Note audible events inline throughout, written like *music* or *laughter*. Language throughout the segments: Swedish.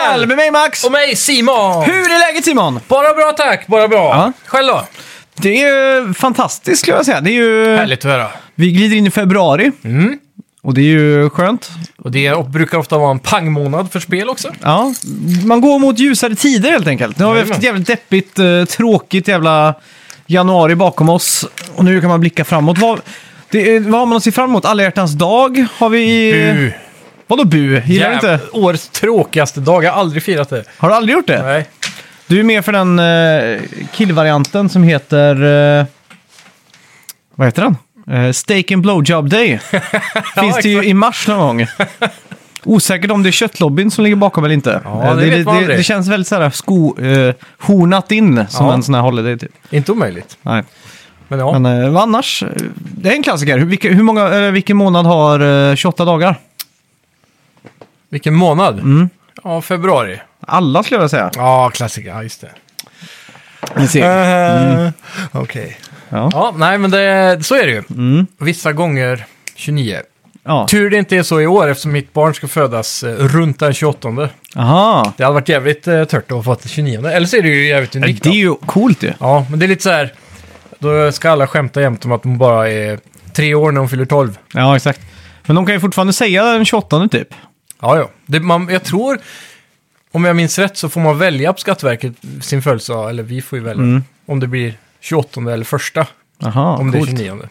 Hall med mig Max! Och mig Simon! Hur är läget Simon? Bara bra tack, bara bra. Ja. Själv då? Det är ju fantastiskt skulle jag säga. Det är ju... Härligt att höra. Vi glider in i februari Mm. och det är ju skönt. Och det är- brukar ofta vara en pangmånad för spel också. Ja. Man går mot ljusare tider helt enkelt. Nu har vi haft Jajamän. ett jävligt deppigt, eh, tråkigt jävla januari bakom oss och nu kan man blicka framåt. Vad, det, är- vad har man att se fram emot? Alla hjärtans dag har vi... Bu. Vadå bu? Gillar du Jävla- inte? Årets tråkigaste dag, jag har aldrig firat det. Har du aldrig gjort det? Nej. Du är mer för den eh, killvarianten som heter... eh, vad heter den? Eh, steak and blowjob day. *laughs* Finns det ju exakt. i mars någon *laughs* gång. Osäkert om det är köttlobbyn som ligger bakom eller inte. Ja, Eh, det vet man det, det, aldrig. det känns väldigt så här sko, eh, hornat in som Ja. en sån här holiday typ. Inte omöjligt. Nej. Men ja, Men eh, vad annars? Eh, Det är en klassiker. Hur, vilken, hur många, eh, vilken månad har eh, 28 dagar? vilken månad? Ja, februari. Alla skulle jag vilja säga. Mm. Ja, klassiker. Ja, just det. Ni ser. Eh, Okej. Ja. Ja, Mm. nej men det, så är det ju. Vissa gånger 29. Ja. Tur det inte är så i år eftersom mitt barn ska födas eh, runt den 28. Aha. Det hade varit jävligt eh, tört att få det 29. Eller så är det ju jävligt unikt. Det är då. ju coolt ju. Ja, men det är lite så här. Då ska alla skämta jämt om att hon bara är tre år när hon fyller 12. Ja, exakt. Men de kan ju fortfarande säga den 28 typ. Ja, ja. Det, man, jag tror, om jag minns rätt, så får man välja på Skatteverket sin födelsedag. Eller vi får ju välja. Mm. Om det blir 28 eller första. Jaha, om coolt. det är 29.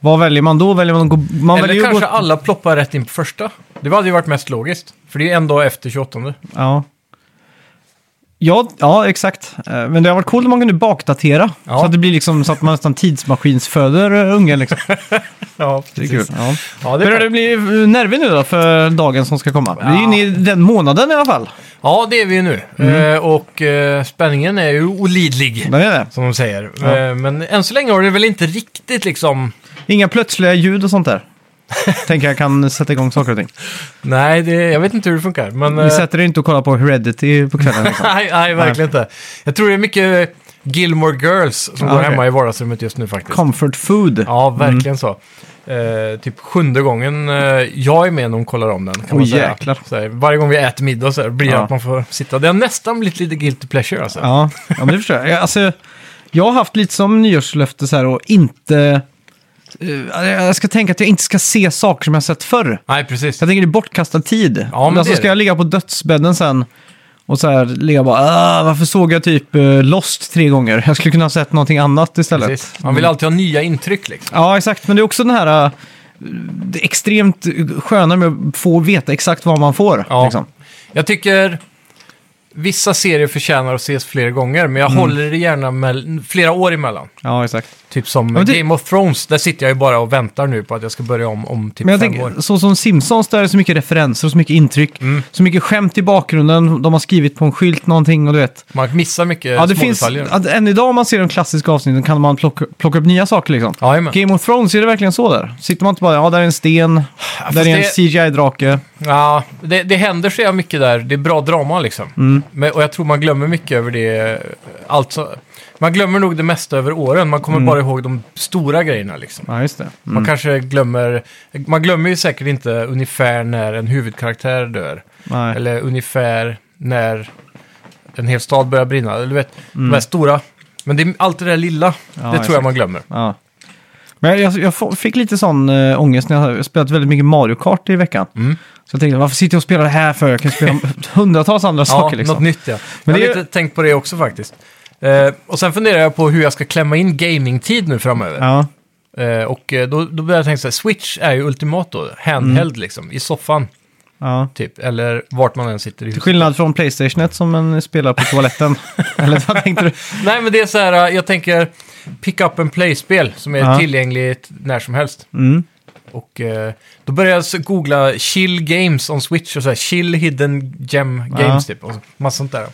Vad väljer man då? Väljer man att gå... Man Eller väljer ju att kanske gå... alla ploppar rätt in på första. Det hade ju varit mest logiskt. För det är ju en dag efter 28. Ja. Ja, ja, exakt. Eh, Men det har varit coolt om man kunde bakdatera. Ja. Så att det blir liksom så att man nästan tidsmaskinsföder eh, ungen. *laughs* Liksom. Ja, Det är kul. Ja. Ja, det är Börjar du fett. bli eh, nervig nu då för dagen som ska komma? Vi är ju Ja. inne i den månaden i alla fall. ja, det är vi ju nu. Mm. Eh, och eh, spänningen är ju olidlig. Men det är det. Som de säger. Ja. Eh, Men än så länge har det väl inte riktigt liksom... Inga plötsliga ljud och sånt *laughs* där. Tänker jag kan sätta igång saker och ting. Nej, det, jag vet inte hur det funkar. Men, Vi eh, sätter er inte och kollar på Heredity på kvällen. Liksom. *laughs* nej, nej, verkligen inte. Jag tror det är mycket Gilmore Girls som Ja, går okej. Mm. hemma i vardagsrummet just nu faktiskt. Comfort food. Ja, verkligen så. Eh, typ sjunde gången eh, jag är med när de kollar om den. Kan man Oj, säga. jäklar. Så här, varje gång vi äter middag så här, blir det Ja. att man får sitta. Det har nästan blivit lite guilty pleasure alltså. Ja, ja men det förstår jag. jag. Alltså, jag har haft lite som nyårslöfte så här och inte... eh, jag ska tänka att jag inte ska se saker som jag sett förr. Nej, precis. Jag tänker det är bortkastad tid. Ja, men alltså, det är ska det. jag ligga på dödsbädden sen och så här ligga bara ah, varför såg jag typ eh, Lost tre gånger? Jag skulle kunna ha sett någonting annat istället. precis. Man vill Mm. alltid ha nya intryck liksom. Ja, exakt. Men det är också den här eh, det extremt sköna med att få veta exakt vad man får. Ja. Liksom. Jag tycker vissa serier förtjänar att ses fler gånger, men jag Mm. håller det gärna mell- flera år emellan. ja exakt. Typ som men det- Game of Thrones, där sitter jag ju bara och väntar nu på att jag ska börja om om typ Men jag fem tänker, år. Mm. så som Simpsons, där är det så mycket referenser och så mycket intryck. Så mycket skämt i bakgrunden, de har skrivit på en skylt någonting och du vet. Man missar mycket Ja, det små finns, detaljer. att, än idag om man ser de klassiska avsnitten kan man plocka, plocka upp nya saker liksom. Jajamän. Game of Thrones, är det verkligen så där? Sitter man inte bara, ja där är en sten, där är en det- CGI-drake. Ja, det, det händer så jävla mycket där. Det är bra drama liksom. Mm. Men, och jag tror man glömmer mycket över det. Alltså, man glömmer nog det mesta över åren. Man Mm. kommer bara ihåg de stora grejerna liksom. Ja, just det. Mm, Man kanske glömmer... Man glömmer ju säkert inte ungefär när en huvudkaraktär dör. Nej. *laughs* Eller ungefär när en hel stad börjar brinna. Eller du vet, de här stora. Men det är allt det där lilla, det tror Mm. exakt. jag *laughs* man glömmer. Ja. Men jag, jag få- fick lite sån äh, ångest när jag har spelat väldigt mycket Mario Kart i veckan. Mm. Så jag tänkte, varför sitter jag och spelar det här för? Jag kan *laughs* spela hundratals andra Ja, saker liksom. något nytt ja. Men Men jag det är har ju- lite tänkt på det också faktiskt. Eh, och sen funderar jag på hur jag ska klämma in gamingtid nu framöver. Ja, Eh, och eh, då, då började jag tänka så här, Switch är ju ultimat då, handheld Mm. liksom, i soffan ja. typ, eller vart man än sitter i Till huset. skillnad från Playstation 1 som man spelar på *laughs* toaletten. Eller vad tänkte du? Nej men det är så här, eh, jag tänker pick up and play-spel som är Ja. tillgängligt när som helst. Mm. Och eh, då började jag så googla chill games on Switch och så här chill hidden gem Ja. games typ. Och så- massa sånt där.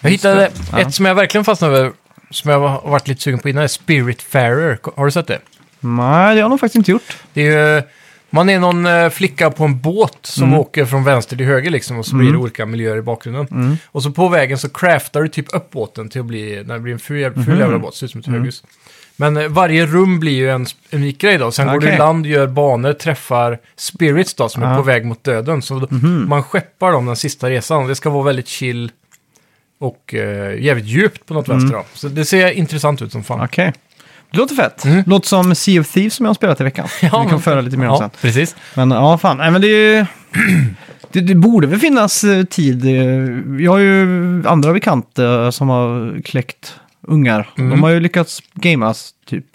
Jag hittade Ja. ett som jag verkligen fastnade över, som jag har varit lite sugen på innan, är Spiritfarer. Har du sett det? Nej, det har jag nog faktiskt inte gjort. Det är ju, man är någon eh, flicka på en båt som Mm. åker från vänster till höger liksom och så blir det olika miljöer i bakgrunden. Mm. Och Mm. så på vägen så craftar du typ upp båten till att bli, när det blir en ful, jävla- ful jävla båt, ser ut som ett höghus. Men eh, varje rum blir ju en sp- unik grej då. Sen går du i Okej. land, gör banor, träffar spirits då som är Ja. Mhm. på väg mot döden. Så man skeppar dem den sista resan. Det ska vara väldigt chill och eh, jävligt djupt på Mm. något vänster då. Så det ser intressant ut som fan. Okej. Det låter fett. Mm. Låter som Sea of Thieves som jag har spelat i veckan. Vi kan men- föra lite mer om ja, sen. precis. Men ja, fan. Nej, men det, är ju... *clears throat* det, det borde väl finnas eh, tid. Eh, Jag har ju andra bekanta som har kläckt ungar. Mm. De har ju lyckats gamas typ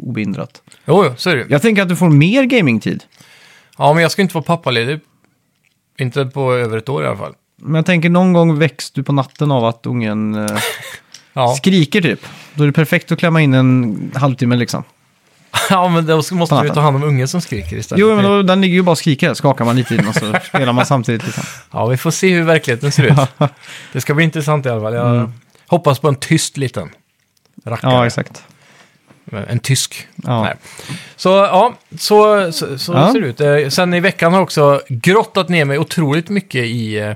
obehindrat. Jo, jo, så är det ju. Jag tänker att du får mer gamingtid. Ja, men jag ska inte vara pappaledig. Inte på över ett år i alla fall. Men jag tänker någon gång väcks du på natten av att ungen eh, Ja, skriker typ. Då är det perfekt att klämma in en halvtimme liksom. *laughs* ja men då måste du ju ta hand om ungen som skriker istället. Jo, men då, den ligger ju bara och skriker. Skakar man lite i den och så spelar man samtidigt. Liksom. Ja, vi får se hur verkligheten ser *laughs* ut. Det ska bli intressant i alla fall. Jag Mm. hoppas på en tyst liten rackare. Ja, exakt. En tysk. Ja. Nej. Så ja, så, så, så Ja. ser det ut. Eh, Sen i veckan har jag också grottat ner mig otroligt mycket i eh,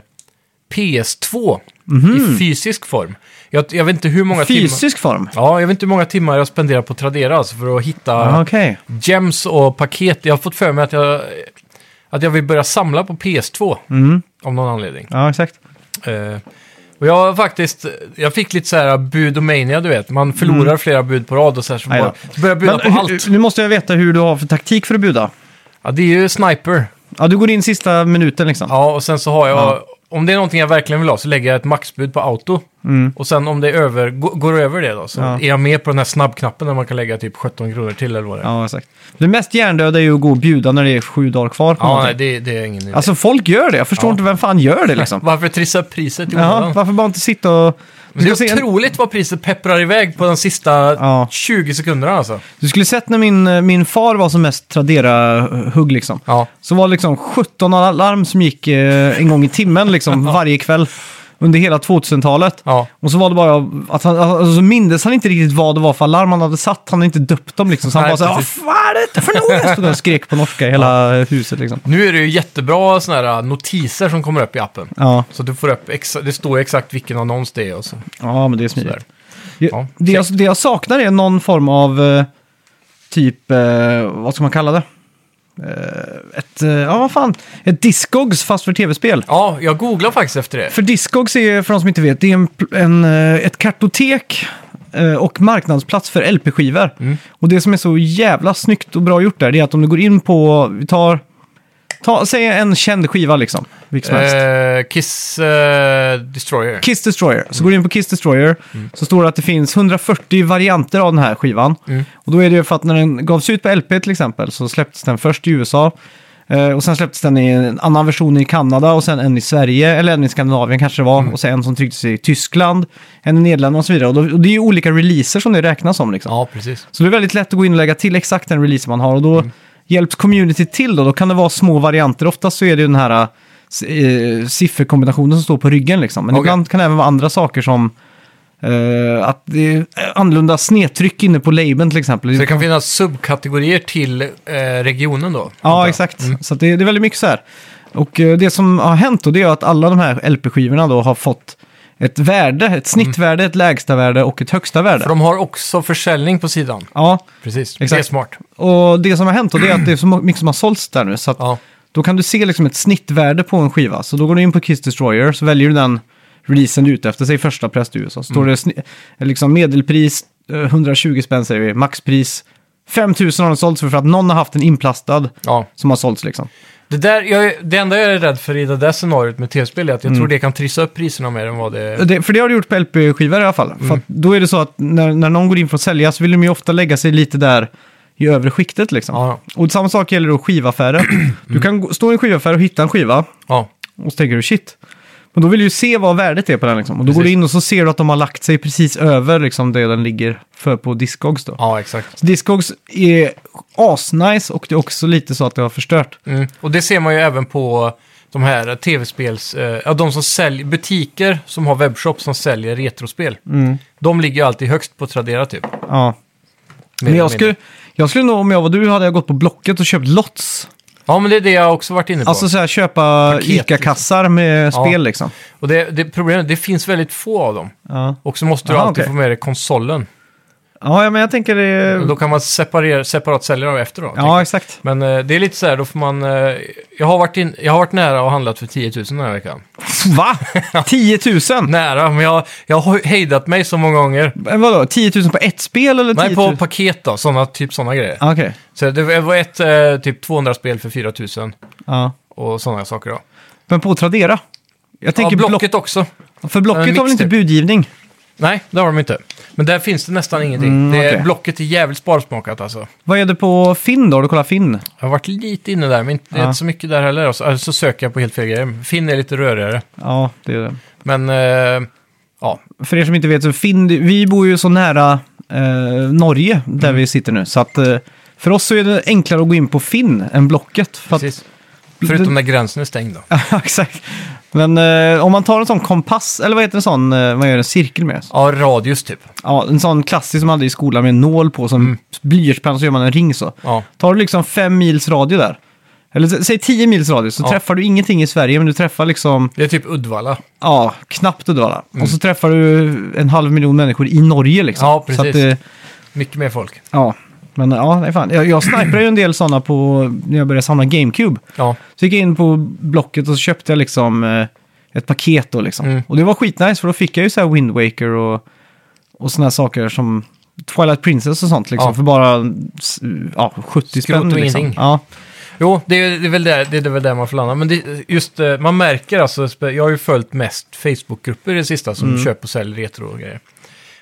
PS2. Mhm. I fysisk form. Jag, jag vet inte hur många timmar... Fysisk form? Ja, jag vet inte hur många timmar jag spenderar på Tradera alltså, för att hitta Ja, Okej. gems och paket. Jag har fått för mig att jag, att jag vill börja samla på PS2 Mm. av någon anledning. Ja, exakt. Eh, och jag har faktiskt, jag fick lite så här bud och mania, du vet. Man förlorar flera bud på rad och så här. Så Aj då. bara, börjar buda Mm. Men på hur- allt. nu måste jag veta hur du har för taktik för att buda. Ja, det är ju sniper. Ja, du går in sista minuten liksom. Ja, och sen så har jag, om det är någonting jag verkligen vill ha så lägger jag ett maxbud på auto. Mm. Och sen om det är över, gå- går över det då, så Ja. är jag med på den här snabbknappen där man kan lägga typ 17 kronor till eller vad det är. Ja, Ja, exakt. Det mest hjärndöda är ju att gå och bjuda när det är sju dagar kvar. på någonting. nej, det, det är ingen idé. Alltså folk gör det. Jag förstår Ja. inte vem fan gör det liksom. *laughs* Varför trissa upp priset i Ja, onödan? varför bara inte sitta och... Du Men det skulle, är se, otroligt vad priset pepprar iväg på de sista Ja. 20 sekunderna alltså. du skulle sett när min, eh, min far var som mest Tradera-hugg liksom. Ja. Så var det liksom 17 alarm som gick eh, en gång i timmen *laughs* liksom varje kväll under hela 2000-talet. Ja. Och så var det bara att han, alltså så mindes han inte riktigt vad det var för alarm han hade satt. Han hade inte döpt dem liksom. Så han Nej, bara så här, vad precis. fan är det för något? Stod och skrek på norska i hela huset liksom. Nu är det ju jättebra såna här äh, notiser som kommer upp i appen. Ja, Så du får upp, exa- det står ju exakt vilken annons det är och så. ja men det är Sådär. smidigt. Ja. Ja. Det, jag, det jag saknar är någon form av eh, typ, eh, vad ska man kalla det? Eh, ett, eh, ja vad fan, ett discogs fast för tv-spel. Ja, jag googlar faktiskt efter det. För Discogs är ju, för de som inte vet, det är en, pl- en, eh, ett kartotek eh, och marknadsplats för LP-skivor. Och det som är så jävla snyggt och bra gjort där, det är att om du går in på, vi tar, ta, säg en känd skiva liksom, vilken som helst. Eh, Kiss eh, Destroyer. Kiss Destroyer. Så går du in på Kiss Destroyer så står det att det finns 140 varianter av den här skivan. Och då är det ju för att när den gavs ut på LP till exempel så släpptes den först i USA. eh, Och sen släpptes den i en annan version i Kanada och sen en i Sverige, eller en i Skandinavien kanske det var. Och sen en som trycktes i Tyskland, en i Nederländerna och så vidare. Och, då, och det är ju olika releaser som det räknas som liksom. Ja, precis. Så det är väldigt lätt att gå in och lägga till exakt den release man har och då hjälps community till då. Då kan det vara små varianter. Oftast så är det den här eh, sifferkombinationen som står på ryggen liksom. Men Okej. ibland kan det även vara andra saker som eh, att det är annorlunda snedtryck inne på labeln till exempel. Så det kan finnas subkategorier till eh, regionen då? Ja, exakt. Så att det, det är väldigt mycket så här. Och eh, det som har hänt då det är att alla de här LP-skivorna då har fått ett värde, ett snittvärde, ett lägsta värde och ett högsta värde. För de har också försäljning på sidan. Ja, Precis, Exakt. det är smart. och det som har hänt då det är att det är så mycket som har sålts där nu. Så att Ja. Då kan du se liksom ett snittvärde på en skiva. Så då går du in på Kiss Destroyer, så väljer du den releasen du är ute efter, säg första press i USA. Så står det sni- liksom medelpris, eh, 120 spänn säger vi, maxpris. 5000 har den sålts för, för att någon har haft en inplastad Ja. som har sålts liksom. Det, där, jag, är- det enda jag är rädd för i det där scenariot med tv-spel är att jag tror det kan trissa upp priserna mer än vad det... Mm. Det, för det har du gjort på LP-skivor i alla fall. För att då är det så att när, när någon går in för att sälja så vill de ju ofta lägga sig lite där i övre skiktet liksom. Ja, Och samma sak gäller då skivaffärer. Du kan gå- stå i en skivaffär och hitta en skiva. ja. Och så tänker du shit. Men då vill du ju se vad värdet är på den liksom. Och då går du Precis. in och så ser du att de har lagt sig precis över liksom det den ligger för på Discogs då. ja exakt. Så Discogs är asnice och det är också lite så att det har förstört. Mm. Och det ser man ju även på de här tv-spels... Eh, ja, de som säljer... Butiker som har webbshop som säljer retrospel. Mm. De ligger ju alltid högst på Tradera typ. Mer Ja. Men eller jag mindre. skulle, jag skulle nog, om jag var du, hade jag gått på Blocket och köpt lots. Ja, men det är det jag också varit inne på. Alltså så här, köpa Paket, ICA-kassar med Ja. spel liksom. Och det, det, problemet är att det finns väldigt få av dem. Ja. Och så måste du Aha, alltid okej. Mm. få med dig konsolen. Ja, ja, men jag tänker det... Då kan man separera, separat sälja dem efteråt. tänker Ja, exakt. jag. Men eh, det är lite så här, då får man... Eh, jag, har varit in, jag har varit nära och handlat för 10 000 den här veckan. Va? *laughs* 10 000? Nära, men jag, jag har hejdat mig så många gånger. Men Eh, Vadå, 10 000 på ett spel eller 10 Nej, 000? på paket då, såna, typ sådana grejer. Ah, Okej. Så det var ett eh, typ 200 spel för 4 000 Ja. och sådana saker då. Men på Tradera? Jag Ja, tänker block... Blocket också. För en Blocket har väl inte mixtape. budgivning? Nej, det har de inte. Men där finns det nästan ingenting. Mm, det är, okej. Blocket är jävligt sparsmakat alltså. Vad är det på Finn då? Har du kollat Finn? Jag har varit lite inne där, men inte, Ja. inte så mycket där heller. Och Så, eller så söker jag på helt fel grejer. Finn är lite rörigare. Ja, det är det. Men eh, ja, För er som inte vet så Finn, vi bor ju så nära eh, Norge där Mm. vi sitter nu. Så att eh, för oss så är det enklare att gå in på Finn än Blocket. För att, precis. Förutom när gränsen är stängd då. *laughs* Ja, exakt. Men eh, om man tar en sån kompass, eller vad heter en sån, eh, man gör en cirkel med? Ja, radius typ. Ja, en sån klassisk som man hade i skolan med en nål på som Mm. blyertspenna så gör man en ring så. Ja, Tar du liksom fem mils radie där, eller s- säg tio mils radie, så Ja. träffar du ingenting i Sverige, men du träffar liksom, det är typ Uddevalla. ja, knappt Uddevalla. Och så träffar du en halv miljon människor i Norge liksom. Mm. Ja, precis. Så att, det- Mycket mer folk. Ja, men ja, nej fan. Jag, jag sniprade ju en del sådana på, när jag började samla GameCube. Ja, Så gick jag in på Blocket och så köpte jag liksom eh, ett paket då liksom. Mm. Och det var skitnice för då fick jag ju så här Wind Waker och, och sådana saker som Twilight Princess och sånt liksom. Ja. För bara s- ja, 70 Skrot och spänn liksom. ingenting. Ja, jo, det är, det är väl där, det är väl där man får landa. Men det, just, eh, man märker alltså, spe- jag har ju följt mest Facebookgrupper i det sista som köper och säljer retro och grejer.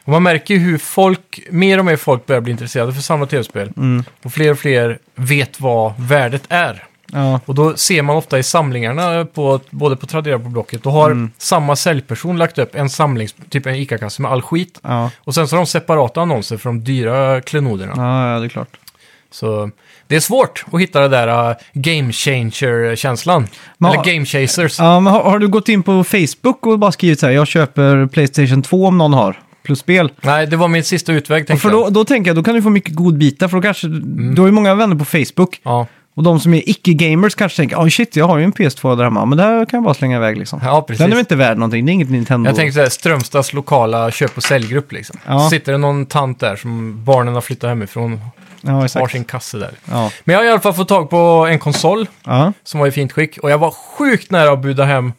Och man märker ju hur folk, mer och mer folk börjar bli intresserade för samma tv-spel. mm, Och fler och fler vet vad värdet är. ja, Och då ser man ofta i samlingarna, på, både på Tradera och på Blocket, då har samma säljperson lagt upp en samling, typ en ICA-kasse med all skit. ja, Och sen så har de separata annonser för de dyra klenoderna. ja, ja, det är klart. Så det är svårt att hitta den där äh, game changer-känslan. Men- Eller game chasers. Ja, men har, har du gått in på Facebook och bara skrivit så här, jag köper Playstation 2 om någon har, plus spel? Nej, det var min sista utväg Ja, tänkte För då, då tänker jag, då kan du få mycket godbitar, för då kanske, Mm. du har ju många vänner på Facebook. jag. Ja. Och de som är icke-gamers kanske tänker, oh shit, jag har ju en PS2 där hemma, men det här kan jag bara slänga iväg liksom. ja, precis. Den är väl inte värd någonting, det är inget Nintendo. Jag tänker så här, Strömstads lokala köp och säljgrupp liksom. Ja. Sitter det någon tant där som barnen har flyttat hemifrån, ja, har exakt. sin kasse där. Ja. Men jag har i alla fall fått tag på en konsol Ja. som var i fint skick. Och jag var sjukt nära att buda hem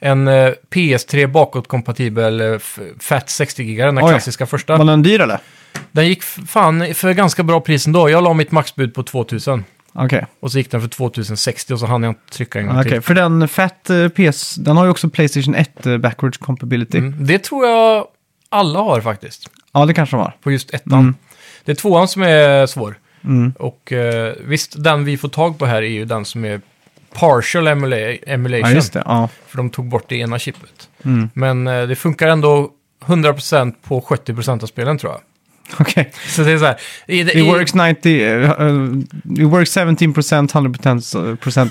en eh, PS3 bakåtkompatibel eh, f- FAT 60 giga den där Oj. klassiska första. Var den dyr eller? Den gick f- fan för ganska bra pris ändå. Jag la mitt maxbud på 2000 Okej, och så gick den för 2060 och så hann jag inte trycka en gång Ah, Okej, till. för den fat eh, PS, den har ju också Playstation 1 eh, backwards compatibility. Mm. Det tror jag alla har faktiskt, Ja, det kanske de har. på just ettan. Mm. Det är tvåan som är svår. Mm. Och eh, visst, den vi får tag på här är ju den som är partial emula- Ja, emulation. just det. Ja. För de tog bort det ena chippet. Mm. *laughs* Men eh, det funkar ändå 100% på 70% av spelen tror jag. Okej. Så det är så här. I, *laughs* It works 90, eh, eh, it works 17 100 procent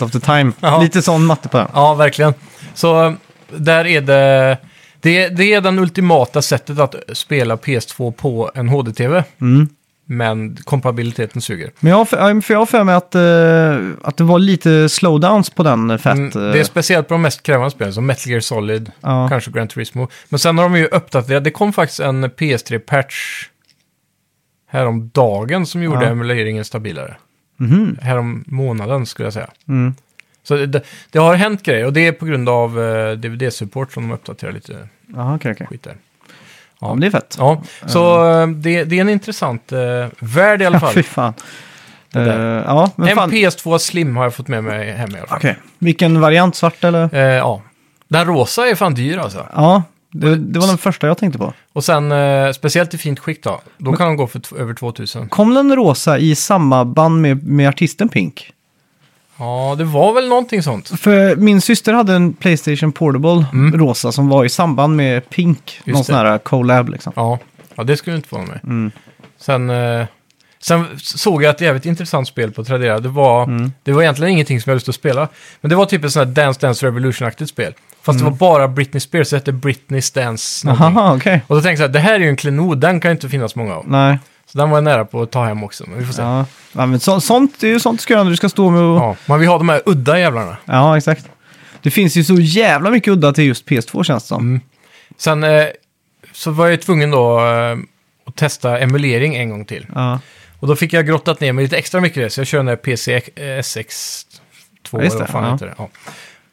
eh, of the time. Ja. Lite sån matte på den. Ja, verkligen. Så eh, där är det... Det, det är den ultimata sättet att spela PS2 på en HD-TV. Mm. Men kompatibiliteten suger. Men jag har för, ja, för jag har för mig att, eh, att det var lite slowdowns på den eh, fat. Mm, eh, det är speciellt på de mest krävande spelen som Metal Gear Solid, ja. kanske Gran Turismo. Men sen har de ju uppdaterat. Det kom faktiskt en PS3-patch häromdagen som gjorde Ja. emuleringen stabilare. Mhm. Härom månaden skulle jag säga. Mm. Så det- det, det har hänt grejer och det är på grund av eh, DVD-support som de uppdaterar lite Jaha, okej, okej. skit där. Ja, men det är fett. Ja, så eh, det, det är en intressant eh, värld i alla fall. Fy fan. Eh, där. ja, men en fan. PS2 Slim har jag fått med mig hem i alla fall. Okej. Vilken variant? Svart eller? Eh, ja. Den rosa är fan dyr alltså. Ja, det, det var den första jag tänkte på. Och sen, eh, speciellt i fint skick då, då kan de gå för t- över 2000. Kom den rosa i samma band med, med artisten Pink? Ja, det var väl någonting sånt. För min syster hade en Playstation Portable Mm. rosa som var i samband med Pink. någon det. sån här collab liksom. Ja, ja det skulle inte vara med. Mm. Sen, eh, sen såg jag ett jävligt intressant spel på Tradera. Det var, Mm. det var egentligen ingenting som jag lust att spela. Men det var typ ett sånt här Dance Dance Revolution-aktigt spel. Fast Mm. det var bara Britney Spears, så det hette Britney's Dance någonting. Jaha, okej. Och då tänkte jag så här, det här är ju en klenod, den kan ju inte finnas många av. Nej. Så den var jag nära på att ta hem också, men vi får se. Ja. Ja. Ja, men så, sånt är ju sånt du ska göra när du ska stå med och... Ja. man vill ha de här udda jävlarna. exakt. Det finns ju så jävla mycket Mm. udda till just PS2 känns det som. Sen eh, så var jag ju tvungen då eh, och testa emulering en gång till. Ja, Och då fick jag grottat ner mig lite extra mycket i det, så jag kör den här PCSX 2 Ja, just eller vad det, fan ja. heter det. Ja.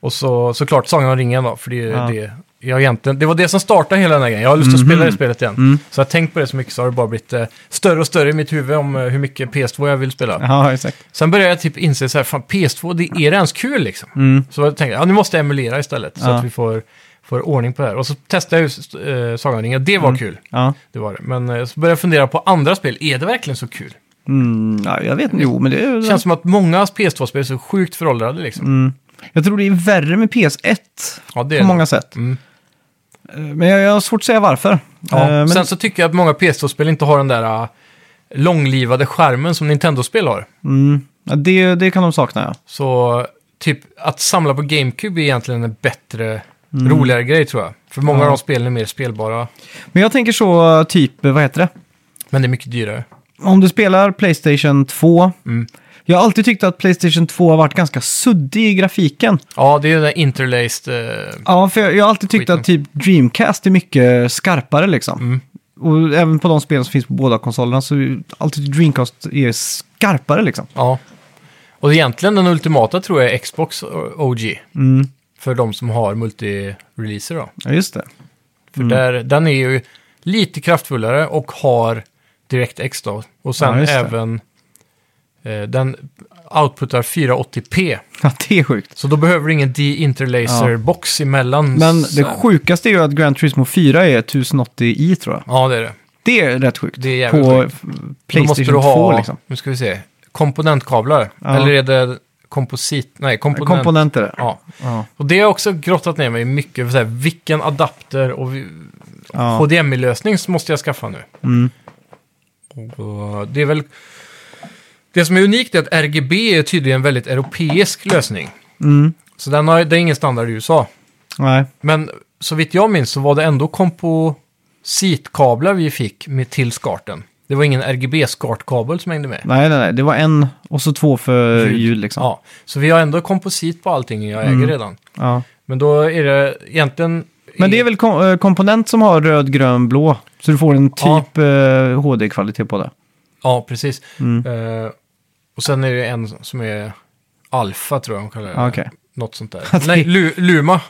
Och så såklart Sagan om ringen då, för det är ju Ja. Mm, det jag egentligen... Det var det som startade hela den här grejen. Jag har lust att spela det spelet igen. Så jag har tänkt på det så mycket så har det bara blivit eh, större och större i mitt huvud om eh, hur mycket PS2 jag vill spela. ja exakt. Sen började jag typ inse så här, fan PS2, det är det ens kul liksom? Mm. Så jag tänkte, ja nu måste jag emulera istället så Ja. att vi får, får ordning på det här. Och så testade jag ju eh, Sagan om ringen, och det Mm. var kul. Ja. Det var det. Men eh, så började jag fundera på andra spel, är det verkligen så kul? Mm, ja, jag vet inte, jo men det är... Det känns som att många PS2-spel är så sjukt föråldrade liksom. Mm. Jag tror det är värre med PS1 Ja, det är på det. många sätt. Mm. Eh, Men jag, jag har svårt att säga varför. Ja. Eh, men, Sen så tycker jag att många PS2-spel inte har den där eh, långlivade skärmen som Nintendo-spel har. mm, ja, det, det kan de sakna, ja. Så eh, typ att samla på GameCube är egentligen en bättre, roligare grej tror jag. För många Mm. Ja. av de spelen är mer spelbara, Men jag tänker så, typ, eh, vad heter det? men det är mycket dyrare. Om du spelar Playstation 2. Mm. Jag har alltid tyckt att Playstation 2 har varit ganska suddig i grafiken. Ja, det är ju den där interlaced... eh, Ja, för jag, jag har alltid tyckt Skiten. att typ Dreamcast är mycket skarpare liksom. Mm. Och även på de spel som finns på båda konsolerna så är alltid Dreamcast är skarpare liksom. Ja. Och egentligen den ultimata tror jag är Xbox OG. Mm. För de som har multi-releaser då. Ja, just det. *laughs* För Mm. där, den är ju lite kraftfullare och har DirectX då. Och sen Ja, just det. även... Eh, den outputar 480p. Ja, det är sjukt. Så då behöver du ingen de-interlaser-box emellan. Men Så- det sjukaste är ju att Gran Turismo 4 är 1080i tror jag. Ja, det är det. Det är rätt sjukt. Det är jävligt på sjukt. Då måste Playstation du ha, 2 liksom. nu ska vi se, komponentkablar. Ja. Eller är det komposit? Nej, komponent. Komponenter. där. Ja. Ja. Och det har jag också grottat ner mig i mycket. För så här, vilken adapter och vi- Ja. HDMI-lösning så måste jag skaffa nu. Mm. Och det är väl... Det som är unikt är att RGB är tydligen en väldigt europeisk lösning. Mm. Så den har, det är ingen standard i USA. Nej. Men så vitt jag minns så var det ändå kompositkablar vi fick med till skarten. Det var ingen RGB-skartkabel som hängde med. nej, nej, nej. Det var en och så två för ljud liksom. Ja. Ja, så vi har ändå komposit på allting jag Mm. äger redan. Men då är det egentligen... Men det är väl kom eh, komponent som har röd, grön, blå. Så du får en Ja. typ eh, HD-kvalitet på det. Ja, precis. Mm. Eh, och sen är det en som är alfa tror jag de kallar det. Ja, *laughs* Okej. Något sånt där. Nej, Lu Luma.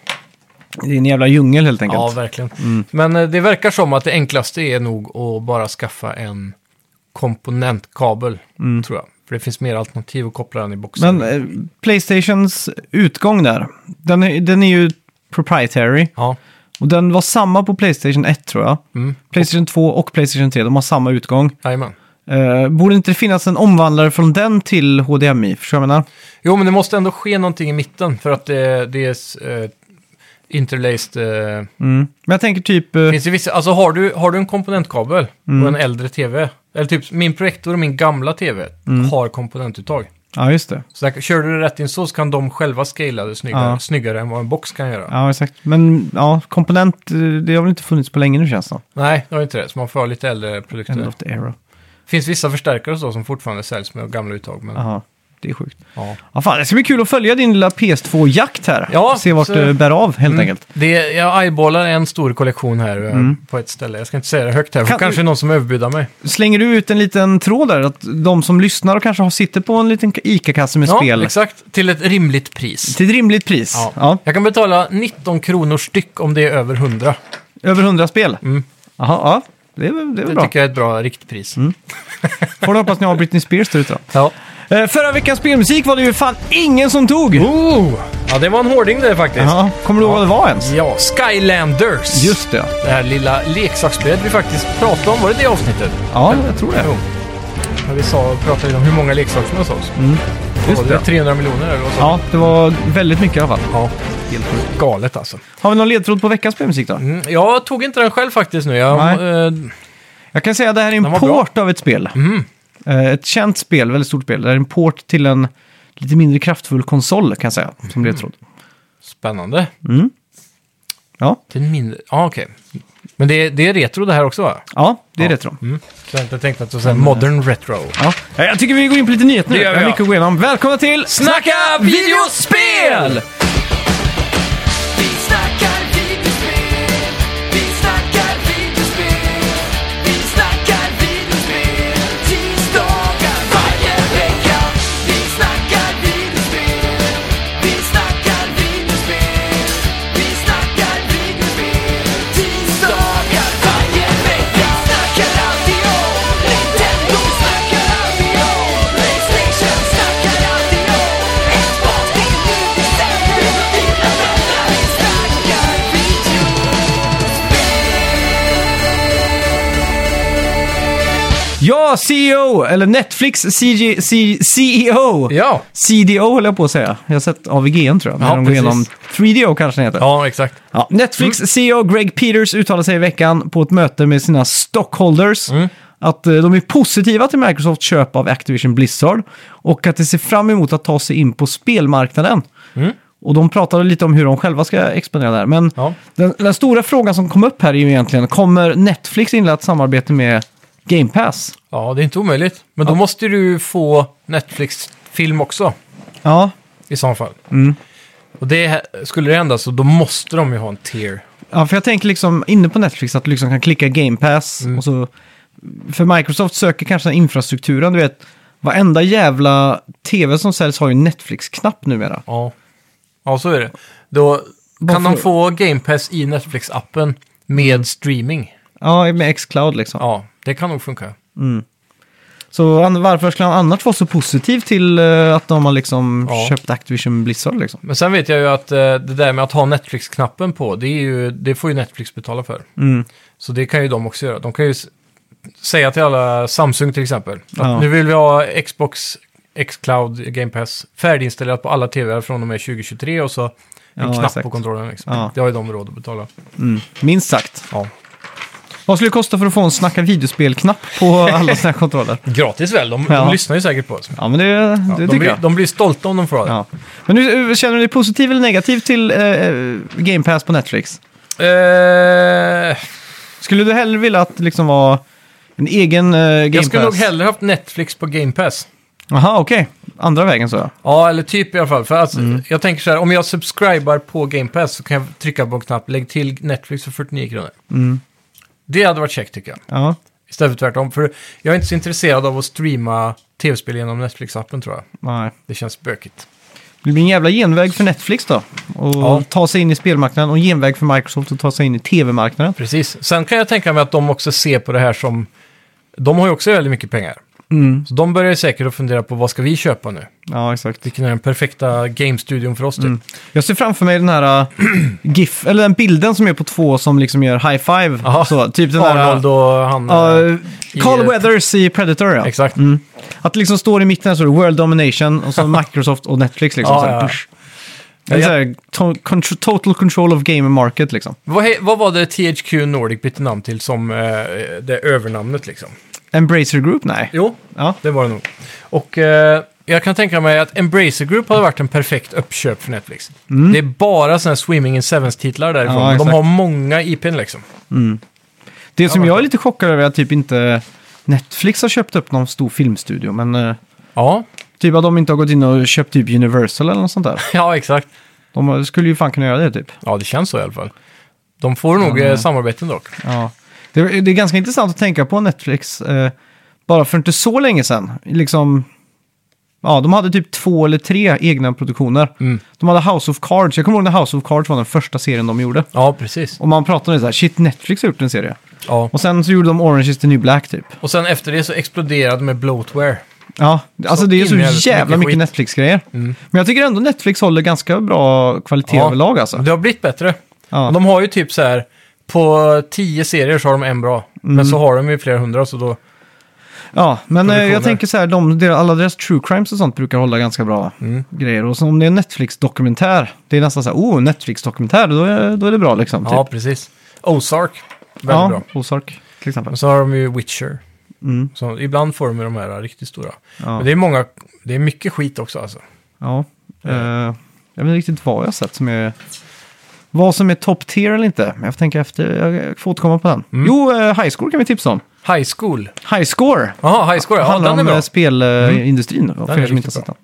Det är en jävla djungel helt enkelt. Ja, verkligen. Mm. Men eh, det verkar som att det enklaste är nog att bara skaffa en komponentkabel, tror jag. För det finns mer alternativ att koppla den i boxen. Mm. Men eh, Playstations utgång där, den är, den är ju proprietary. Ja, Och den var samma på Playstation 1 tror jag. mm. Playstation 2 och Playstation 3, de har samma utgång. Jajamän. Eh, borde inte det finnas en omvandlare från den till HDMI? Förstår du vad jag menar? Jo, men det måste ändå ske någonting i mitten för att det, det är eh, interlaced. Eh, Mm. Men jag tänker typ... eh, finns det vissa, alltså har du, har du en komponentkabel och Mm. en äldre tv, eller typ min projektor och min gamla tv Mm. har komponentuttag. Ja, just det. Så där, kör du det rätt in så, så kan de själva scala det snyggare, Ja. snyggare än vad en box kan göra. Ja, exakt. Men ja, komponent, eh, det har väl inte funnits på länge nu känns det som. Nej, det har inte det. Så man får ha lite äldre produkter. End of the Mm. era. Det finns vissa förstärkare och så som fortfarande säljs med gamla uttag. Men, Aha. Det är sjukt. ja. Ja, fan, det ska bli kul att följa din lilla PS2-jakt här. Ja, Mm. Se vart så- det bär av helt enkelt. Mm. Det, jag eyeballar en stor kollektion här eh, på ett ställe. Jag ska inte säga det högt här, för Kan- kanske någon som överbudar mig. Slänger du ut en liten tråd där? Att de som lyssnar och kanske har- sitter på en liten ICA-kasse med Ja, spel. exakt. Till ett rimligt pris. Till ett rimligt pris. Ja. Ja. Jag kan betala 19 kronor styck om det är över 100. Över 100 spel. Mm. Jaha, ja. Det är, väl- det är Det väl bra. tycker jag är ett bra riktpris. Mm. Får du hoppas ni har Britney Spears där ute då. Ja. Eh, förra veckans spelmusik var det ju fan ingen som tog! Oh, ja, det var en hårding det faktiskt. Ja, kommer du ihåg vad det var ens? Ja, Skylanders. Just det. Det här lilla leksaksspelet vi faktiskt pratade om, var det det avsnittet? Ja, jag tror det. Jo. Men vi sa, pratade om hur många leksaker som hos oss. Mm. Just Var det det. 300 miljoner eller vad sa Ja, det var väldigt mycket i alla fall. du? Ja. Helt sjukt. Galet alltså. Har vi någon ledtråd på veckans spelmusik då? Mm, jag tog inte den själv faktiskt nu. Jag, Nej. eh, Jag kan säga att det här är Den en var bra. Mm. port av ett spel. Eh, Ett känt spel, väldigt stort spel. Det här är en port till en lite mindre kraftfull konsol kan jag säga, Mm. som ledtråd. spännande. Ja, Till en mindre... Ja, okej. Men det, det är retro det här också va? ja det är Ja. retro. Mm. Så jag tänkte att du sa modern retro. Ja. Eh, Jag tycker vi går in på lite nyheter nu. Det gör vi, har ja. mycket att gå igenom. Välkomna till Snacka videospel! Vi snackar videospel, vi snackar videospel, vi snackar Ja, CEO! Eller Netflix CG, C, E CEO! Ja, CDO höll jag på att säga. Jag har sett AVGN tror jag. När Ja, de går precis. igenom 3DO kanske den heter. ja exakt. Ja, Netflix Mm. CEO Greg Peters uttalade sig i veckan på ett möte med sina stockholders Mm. att eh, de är positiva till Microsofts köp av Activision Blizzard och att de ser fram emot att ta sig in på spelmarknaden. Mm. Och de pratade lite om hur de själva ska expandera där. Men Ja. den, den stora frågan som kom upp här är ju egentligen, kommer Netflix inleda ett samarbete med Game Pass? ja, det är inte omöjligt. Men då måste du få Netflix-film också Ja, i så fall. Mm. Och det skulle det hända så då måste de ju ha en tier. Ja, för jag tänker liksom inne på Netflix att du liksom kan klicka Game Pass Mm. och så... För Microsoft söker kanske den här infrastrukturen, du vet. Varenda jävla tv som säljs har ju en Netflix-knapp numera. Ja, ja så är det. Då kan Varför? de få Game Pass i Netflix-appen med streaming. Ja, med Xcloud liksom. Ja, det kan nog funka. Så an- varför skulle han annars vara så positiv till eh, att de har liksom Ja. köpt Activision Blizzard liksom? Men sen vet jag ju att eh, det där med att ha Netflix-knappen på, det, är ju, det får ju Netflix betala för. Mm. Så det kan ju de också göra. De kan ju s- säga till alla, Samsung till exempel, att Ja. nu vill vi ha Xbox, Xcloud, Game Pass färdiginstallerat på alla tvr från och med 2023 och så en Ja, knapp exakt. på kontrollen. Liksom. Ja. Det har ju de råd att betala. Mm. Minst sagt. Ja. Vad skulle det kosta för att få en snacka videospel-knapp på *laughs* alla sådana här kontroller? Gratis väl, de, Ja. de lyssnar ju säkert på oss. Ja, men det, det de, tycker blir, jag. de blir stolta om de får ha det. Ja. Men nu, eh, känner du dig positiv eller negativ till eh, Game Pass på Netflix? Eh, Skulle du hellre vilja att det liksom var en egen eh, Game jag skulle nog Pass? hellre haft Netflix på Game Pass. Aha, okej. Andra vägen så ja. Ja, eller typ i alla fall. För alltså, Mm. Jag tänker så här, om jag subscribar på Game Pass så kan jag trycka på en knapp, lägg till Netflix för 49 kronor. Mm. Det hade varit käckt tycker jag. Ja, Istället för tvärtom. För jag är inte så intresserad av att streama tv-spel genom Netflix-appen tror jag. nej. Det känns bökigt. Det blir en jävla genväg för Netflix då. Och Ja. ta sig in i spelmarknaden och en genväg för Microsoft att ta sig in i tv-marknaden. Precis. Sen kan jag tänka mig att de också ser på det här som... De har ju också väldigt mycket pengar. Mm. Så de börjar ju säkert att fundera på vad ska vi köpa nu? Ja, exakt. Vilken är den perfekta game-studion för oss typ? Mm. Jag ser framför mig den här äh, *clears throat* GIF, eller den bilden som är på två som liksom gör high five. Aha. Så, typ den här... Arnold och han... eh, Uh, Carl i- Weathers i Predator ja. Exakt. Mm. Att det liksom står i mitten här så är det World Domination *laughs* och så Microsoft och Netflix liksom. Ja, så här, ja, ja. push. Eller så här, to- contr- total control of game and market liksom. Vad, he- vad var det THQ Nordic bytte namn till som eh, det övernamnet liksom? Embracer Group? Nej. Jo, Ja. det var det nog. Och eh, jag kan tänka mig att Embracer Group hade varit en perfekt uppköp för Netflix. Det är bara sådana här Swimming in Sevens-titlar därifrån. Mm. Ja, De exakt. har många IPn liksom. Det som Ja, jag är lite chockad över är att typ inte Netflix har köpt upp någon stor filmstudio, men eh, Ja, *laughs* typ att de inte har gått in och köpt typ Universal eller något sånt där. ja exakt. De har- skulle ju fan kunna göra det typ. Ja, det känns så i alla fall. De får nog eh, samarbeten dock. Ja. Det, det är ganska intressant att tänka på Netflix. Eh, bara för inte så länge sedan. Liksom, ja, de hade typ två eller tre egna produktioner. Mm. De hade House of Cards. Jag kommer ihåg när House of Cards var den första serien de gjorde. Ja, precis. Och man pratade om det så här, shit, Netflix har gjort en serie. Ja. Och sen så gjorde de Orange is the new black typ. Och sen efter det så exploderade med bloatware. Ja, alltså det är in i helvete så jävla mycket mycket skit. Mm. Netflix-grejer. Men jag tycker ändå Netflix håller ganska bra kvalitet Ja. överlag alltså. Det har blivit bättre. Ja. De har ju typ så här, på tio serier så har de en bra. Mm. Men så har de ju flera hundra så då... Typ. Ja, men eh, jag Produktioner. tänker så här, de, deras- alla deras true crimes och sånt brukar hålla ganska bra Mm. grejer. Och så om det är en Netflix-dokumentär, det är nästan så här, oh, Netflix-dokumentär, då är, då är det bra liksom. Ja, typ. precis. Ozark. Väldigt ja bra. Ozark till exempel. Och så har de ju Witcher. Mm. Så ibland får de ju de här riktigt stora. Ja. Men det är många... Det är mycket skit också alltså. Ja. Eh, jag vet inte riktigt vad jag har sett som är... Vad som är top tier eller inte. Men jag får tänka efter, jag får återkomma på den. Mm. Jo, eh, High Score kan vi tipsa om. High School. High Score! Jaha, High Score. Ja, handlar den är om bra. Mm. eh, spelindustrin, för er som är inte har riktigt sett den.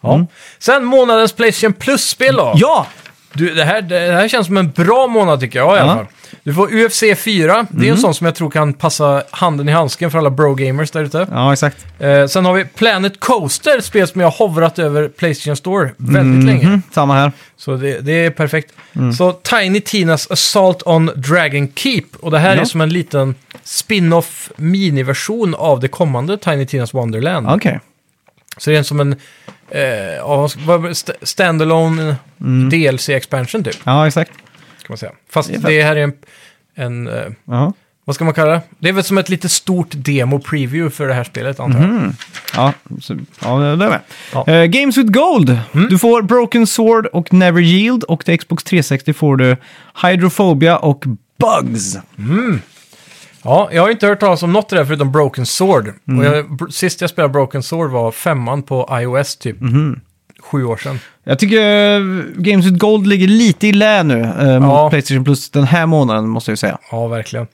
Ja. Sen månadens Playstation Plus-spel då. Mm. Ja! Du, det, här, det här känns som en bra månad tycker jag i alla Ja. Mm. fall. Du får UFC 4. Det är en sån som jag tror kan passa handen i handsken för alla bro-gamers där ute. Ja, exakt. Eh, sen har vi Planet Coaster, ett spel som jag har hovrat över Playstation Store väldigt länge. Mhm, Mm. Samma här. Så det, det är perfekt. Så Tiny Tinas Assault on Dragon Keep. Och det här är Ja. som en liten spin-off miniversion av det kommande Tiny Tinas Wonderland. Okej. Så det är som en eh, ja, vad ska- vad- st- standalone DLC-expansion typ, Ja, exakt. kan man säga. Fast Mm. Det är det, fett. här är en, en eh, Jaha. vad ska man kalla det? Det är väl som ett lite stort demo-preview för det här spelet antar jag. Ja, så, ja det är med. Ja. Mm. Eh, Games with Gold. Du får Broken Sword och Never Yield och till Xbox 360 får du Hydrophobia och Bugs. Ja, jag har inte hört talas om något av det här förutom Broken Sword. Och jag, br- sist jag spelade Broken Sword var femman på iOS typ sju år sedan. Jag tycker eh, Games with Gold ligger lite i lä nu eh, Ja. mot Playstation Plus den här månaden måste jag ju säga. Ja, verkligen.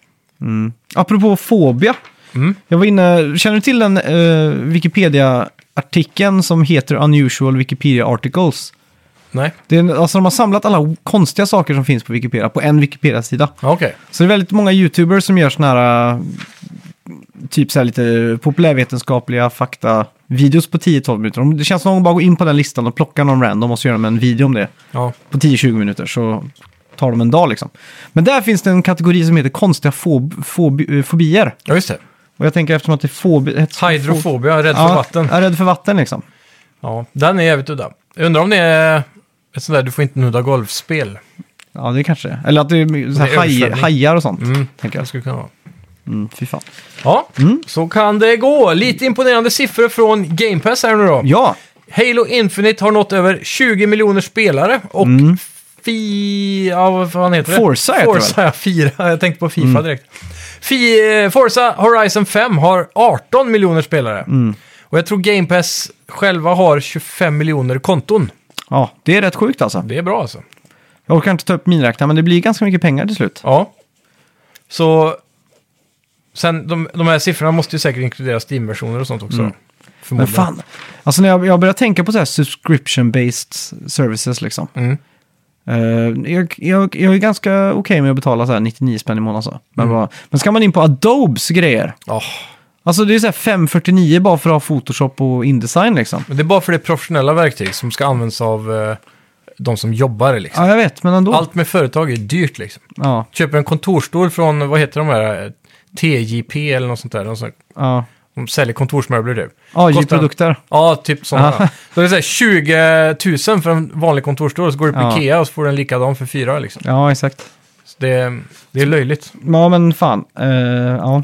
Apropå Fobia. Mm. Jag var inne, känner du till den eh, Wikipedia-artikeln som heter Unusual Wikipedia Articles? Nej, Det är, en- alltså de har samlat alla konstiga saker som finns på Wikipedia på en Wikipedia-sida. Ja, okej. Så det är väldigt många YouTubers som gör såna här, äh, typ så här lite populärvetenskapliga fakta-videos på 10-12 minuter. De- Det känns som att de bara går in på den listan och plockar någon random och så gör de en video om det Ja, på 10-20 minuter. Så tar de en dag liksom. Men där finns det en kategori som heter konstiga fob- fob- eh, fobier. ja just det. Och jag tänker eftersom att det är fobi... ett- Hydrofobia, rädd för Ja, vatten. Jag är rädd för vatten liksom. Ja, den är jävligt udda. Jag undrar om det är ett sånt där du får inte nudda golfspel. Ja, det kanske är. Eller att det är, så här Det är haj, översvämning. hajar och sånt. Mm. Tänker Det jag. skulle kunna vara. Mm, fy fan. Ja, så kan det gå. Lite imponerande siffror från Game Pass här nu då. Ja, Halo Infinite har nått över 20 miljoner spelare och Fi... Ja, vad fan heter det? Mm. Forza heter det väl? Mm. Forza, *laughs* ja, Fira. Jag tänkte på Fifa direkt. Fi... eh, Forza Horizon 5 har 18 miljoner spelare. Mm. Och jag tror Game Pass själva har 25 miljoner konton. ja, det är rätt sjukt alltså. Det är bra alltså. Jag orkar inte ta upp miniräknaren, men det blir ganska mycket pengar till slut. Ja. Så... Sen, de, de här siffrorna måste ju säkert inkludera Steam-versioner och sånt också. Mm. Men Förmodligen. fan, alltså när jag, jag börjar tänka på så här subscription-based services liksom. Mm. Eh, jag, jag, jag är ganska okej med att betala så här 99 spänn i månaden. Så. Mm. Men, bara, men ska man in på Adobes grejer? Ja. Alltså det är så här 549 bara för att ha Photoshop och Indesign liksom. Men det är bara för det är professionella verktyg som ska användas av eh, de som jobbar liksom. Ja, jag vet, men ändå. Allt med företag är dyrt liksom. Ja, Köper en kontorsstol från, vad heter de här, eh, TJP eller något sånt där. De, som, ja. de säljer kontorsmöbler typ. Kostar- AJ-produkter. Ja, typ sådana. *laughs* Ja. Då är det så här 20 000 för en vanlig kontorsstol, så går du på Ja. Ikea och så får du en likadan för fyra liksom. Ja, exakt. Så det, det är löjligt. Ja, men fan. Eh, ja.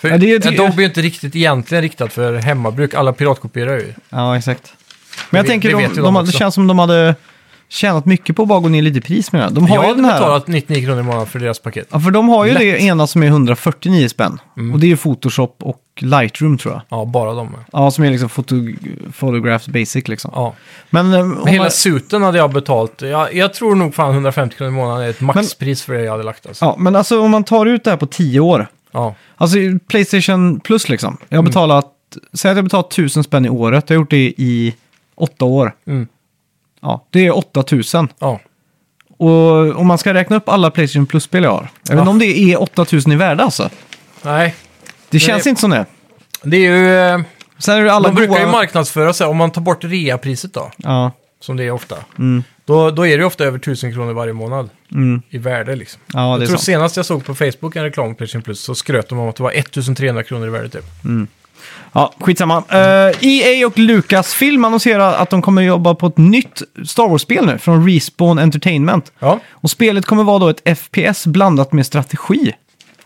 För Ja, det är- Adobe är ju inte riktigt egentligen riktat för hemmabruk, alla piratkopierar ju. ja, exakt. Men jag Det- tänker, det de, vet ju de, de hade- det också. känns som de hade tjänat mycket på att bara gå ner lite i pris med det. De har Jag ju har den här... betalat 99 kronor i månaden för deras paket. Ja, för de har ju det ena som är 149 spänn. Mm. Och det är ju Photoshop och Lightroom tror jag. Ja, bara dem. Ja, som är liksom foto, Photographs Basic liksom. Ja. Men, eh, om Men hela man, suten hade jag betalt. Jag, jag tror nog fan 150 kronor i månaden är ett maxpris för det jag hade lagt. Alltså. ja, men alltså om man tar ut det här på 10 år. Ja. Alltså i Playstation Plus liksom. Jag har Mm. betalat, säg att jag har betalat 1000 spänn i året. Jag har gjort det i 8 år. Mm. Ja, det är 8000. Ja. Och om man ska räkna upp alla Playstation Plus-spel jag har. Jag vet inte Ja. om det är 8000 i värde alltså. Nej, Det känns det- inte som det. det är ju... eh, Sen är det alla De brukar ju goa- marknadsföra sig, om man tar bort reapriset då, Ja, som det är ofta. Mm. Då, då är det ju ofta över 1000 kronor varje månad i värde liksom. ja det jag är tror sant. senast jag såg på Facebook en reklam på Playstation Plus så skröt de om att det var 1300 kronor i värde typ. Ja, skitsamma. Eh, EA och Lucasfilm annonserar att de kommer jobba på ett nytt Star Wars-spel nu från Respawn Entertainment. Ja, Och spelet kommer vara då ett FPS blandat med strategi.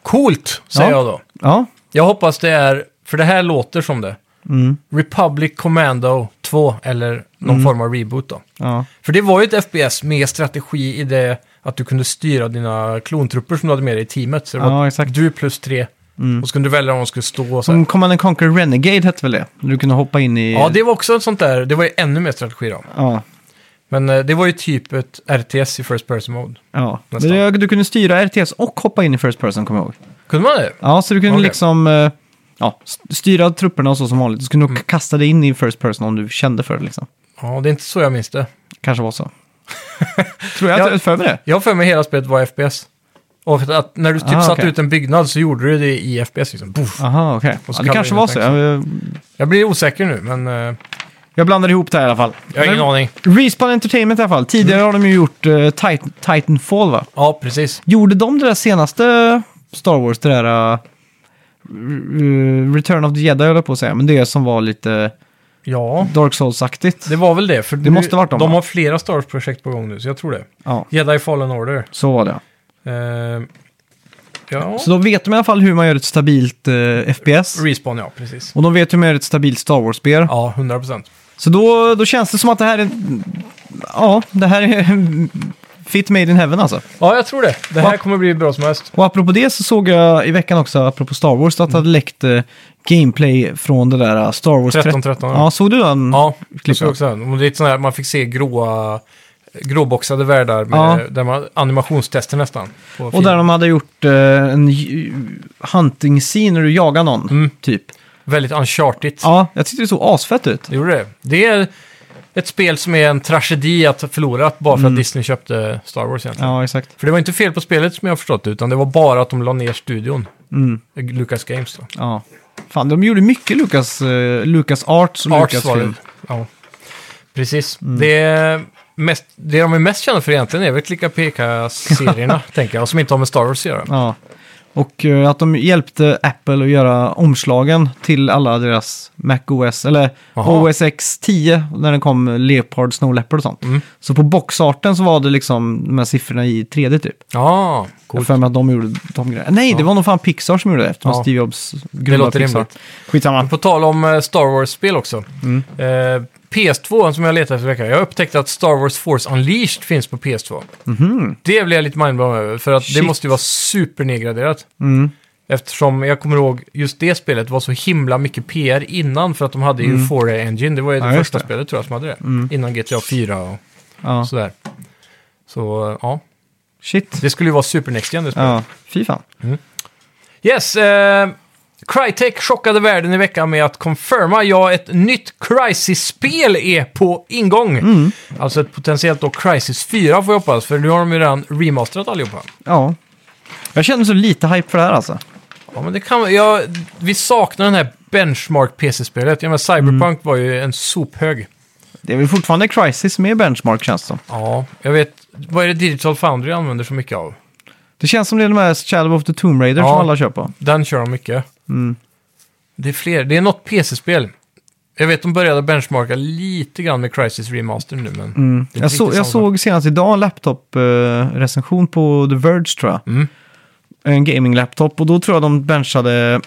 coolt säger Ja. jag då. Ja, Jag hoppas det är, för det här låter som det. Mm. Republic Commando 2 eller någon form av reboot då. ja, För det var ju ett FPS med strategi i det att du kunde styra dina klontrupper som du hade med dig i teamet. Så det var ja exakt. Mm. du plus tre. Och så kunde du välja om de skulle stå och så här. Som Command and Conquer Renegade hette väl det? Du kunde hoppa in i... Ja, det var också ett sånt där. Det var ju ännu mer strategi då. Ja, Men eh, det var ju typ ett RTS i First Person Mode. ja. Men Nästan. det- Du kunde styra RTS och hoppa in i First Person, kommer jag ihåg. Kunde man det? Ja, så du kunde Okej. liksom eh, ja, st- styra trupperna och så som vanligt. Så kunde du Mm. kasta dig in i First Person om du kände för det liksom. Ja, det är inte så jag minns det. Kanske var så. *laughs* Tror jag att Ja. jag för mig det. Jag har för mig hela spelet var FPS. Och att när du typ Ah, satte okej. Ah. ut en byggnad så gjorde du det i FPS liksom. Boof. Aha, okej. Och så Ja, det kan kanske man var ju så. tänka Jag, eh, Jag blir osäker nu, men eh, jag blandar ihop det här i alla fall. jag har ingen Men- aning. Respawn Entertainment i alla fall. Tidigare har de ju gjort eh, Titan, Titanfall, va? Ja, precis. Gjorde de det där senaste Star Wars, det där... eh, eh, Return of the Jedi, höll jag på att säga. Men det som var lite Ja, Dark Souls-aktigt. det var väl det. För Det måste varit dem, De va? har flera Star Wars-projekt på gång nu, så jag tror det. Ja, Eh, Jedi Fallen Order. så var det. Eh, Ja. Så de vet de i alla fall hur man gör ett stabilt eh, FPS. Respawn, ja, precis. Och de vet hur man gör ett stabilt Star Wars-spel. Ja, 100 procent. Så då, då känns det som att det här är... Ja, det här är fit made in heaven alltså. Ja, jag tror det. Det här Va? kommer bli bra som helst. Och apropå det så såg jag i veckan också, apropå Star Wars, att det hade läckt eh, gameplay från det där eh, Star Wars 13, 13. Ja, såg du den? Ja, Klipp, det såg jag också. här. Och Det är ett sånt här, man fick se gråa, gråboxade världar med Ja. där man, animationstester nästan. på Och film. där de hade gjort eh, en j- hunting scene när du jagar någon, Mm. typ. Väldigt uncharted. Ja, jag tyckte det såg asfett ut. Det gjorde det. Det är ett spel som är en tragedi att förlora bara Mm. för att Disney köpte Star Wars egentligen. Ja, exakt. För det var inte fel på spelet som jag har förstått det, utan det var bara att de la ner studion. Mm, Lucas Games då. ja. Fan, de gjorde mycket Lucas, eh, Lucas Arts och Arts Lucas var det. Film. Ja. Precis. Mm. Det, mest, det de är mest kända för egentligen är väl *laughs* klicka peka-serierna, tänker jag, som inte har med Star Wars att göra. Ja. Och eh, att de hjälpte Apple att göra omslagen till alla deras Mac OS, eller Jaha. OS X 10, när den kom Leopard, Snow Leopard och sånt. Mm. Så på boxarten så var det liksom de här siffrorna i 3D typ. Ja, Jag har coolt. för mig att de gjorde de grejerna. Nej, det Ja. var nog fan Pixar som gjorde det eftersom Ja. Steve Jobs Det grundade låter Pixar. rimligt. Skitsamma. På tal om eh, Star Wars-spel också. Mm. Eh, PS2 som jag letade efter veckan. Jag upptäckte att Star Wars Force Unleashed finns på PS2. Mhm. Det blev jag lite mindblown över, för att det Shit. måste ju vara supernedgraderat. Mm. Eftersom jag kommer ihåg just det spelet var så himla mycket PR innan för att de hade ju Euphoria Engine. Det var ju det Mm. Ja, just första det. Mm. spelet tror jag som hade det. Innan GTA 4 och Ja. sådär. Så eh, ja, Shit. det skulle ju vara supernext igen det spelet. Ja, fy fan. Yes, eh, Crytek chockade världen i veckan med att confirma ja, ett nytt Crisis-spel är på ingång. Alltså ett potentiellt då Crisis 4 får jag hoppas, för nu har de ju redan remasterat allihopa. Ja. Jag känner så lite hype för det här alltså. Ja, men det kan ja, Vi saknar den här benchmark-PC-spelet. Jag menar, Cyberpunk var ju en sophög. Det är väl fortfarande Crisis med benchmark känns det som. Ja, jag vet. Vad är det Digital Foundry använder så mycket av? Det känns som det är de här Shadow of the Tomb Raider Ja. som alla kör på. Den kör de mycket. Mm. Det är fler. Det är något PC-spel. Jag vet, de började benchmarka lite grann med Crisis Remaster nu, men... Mm. Det är Jag, inte så, riktigt jag samma. såg senast idag en laptop-recension på The Verge tror jag. Mm. En gaming-laptop och då tror jag de benchade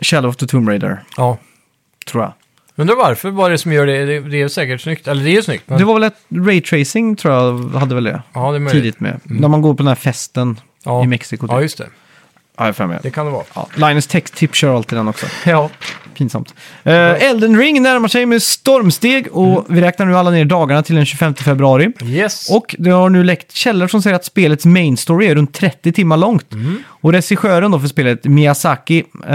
Shadow of the Tomb Raider, Ja. tror jag. Undrar varför, vad är det som gör det? Det, det är säkert snyggt. Eller det är ju snyggt, men... Det var väl ett raytracing tror jag hade väl det ja, det är möjligt. Mm. tidigt med. När man går på den här festen Ja. i Mexiko. ja, Typ. just det. Ja, jag med. Det kan det vara. Ja, Linus Tech Tip kör alltid den också. Ja. Pinsamt. Eh, Elden Ring närmar sig med stormsteg Mm. och vi räknar nu alla ner dagarna till den 25 februari. Yes. Och det har nu läckt källor som säger att spelets main story är runt 30 timmar långt. Mm. Och regissören då för spelet, Miyazaki, eh,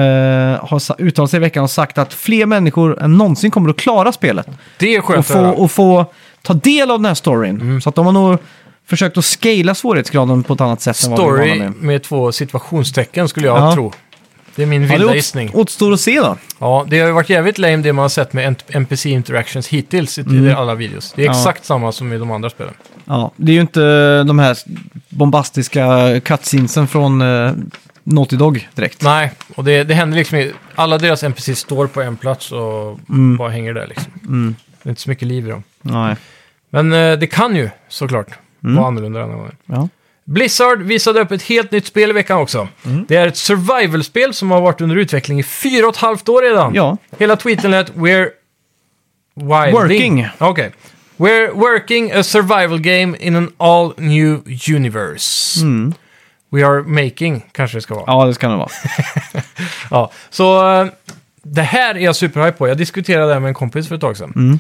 har sa- uttalat sig i veckan och sagt att fler människor än någonsin kommer att klara spelet. det är skönt Och att få, höra. och få ta del av den här storyn. Mm. Så att de har nog försökt att scala svårighetsgraden på ett annat sätt än vad vi är Story vana vid. med två situationstecken skulle jag Ja. tro. Det är min Ja, det vilda åt- gissning. återstår att se då. Ja, det har ju varit jävligt lame det man har sett med ent- NPC interactions hittills i i alla videos. Det är Mm. Ja. exakt samma som i de andra spelen. Ja, det är ju inte de här bombastiska cutscenesen från eh, Naughty Dog direkt. Nej, och det, det händer liksom i, Alla deras NPCs står på en plats och Mm. bara hänger där liksom. Det är inte så mycket liv i dem. Nej. Men eh, det kan ju såklart Mm. vara annorlunda denna gången. Ja. Blizzard visade upp ett helt nytt spel i veckan också. Mm. Det är ett survival-spel som har varit under utveckling i fyra och ett halvt år redan. ja. Hela tweeten lät “We're wilding”. Working. Okej. “We're working a survival game in an all new universe”. Mm. “We are making” kanske det ska vara. Ja. Ja, det ska det vara. Så eh, det här är jag superhype på. Jag diskuterade det här med en kompis för ett tag sedan. Mm.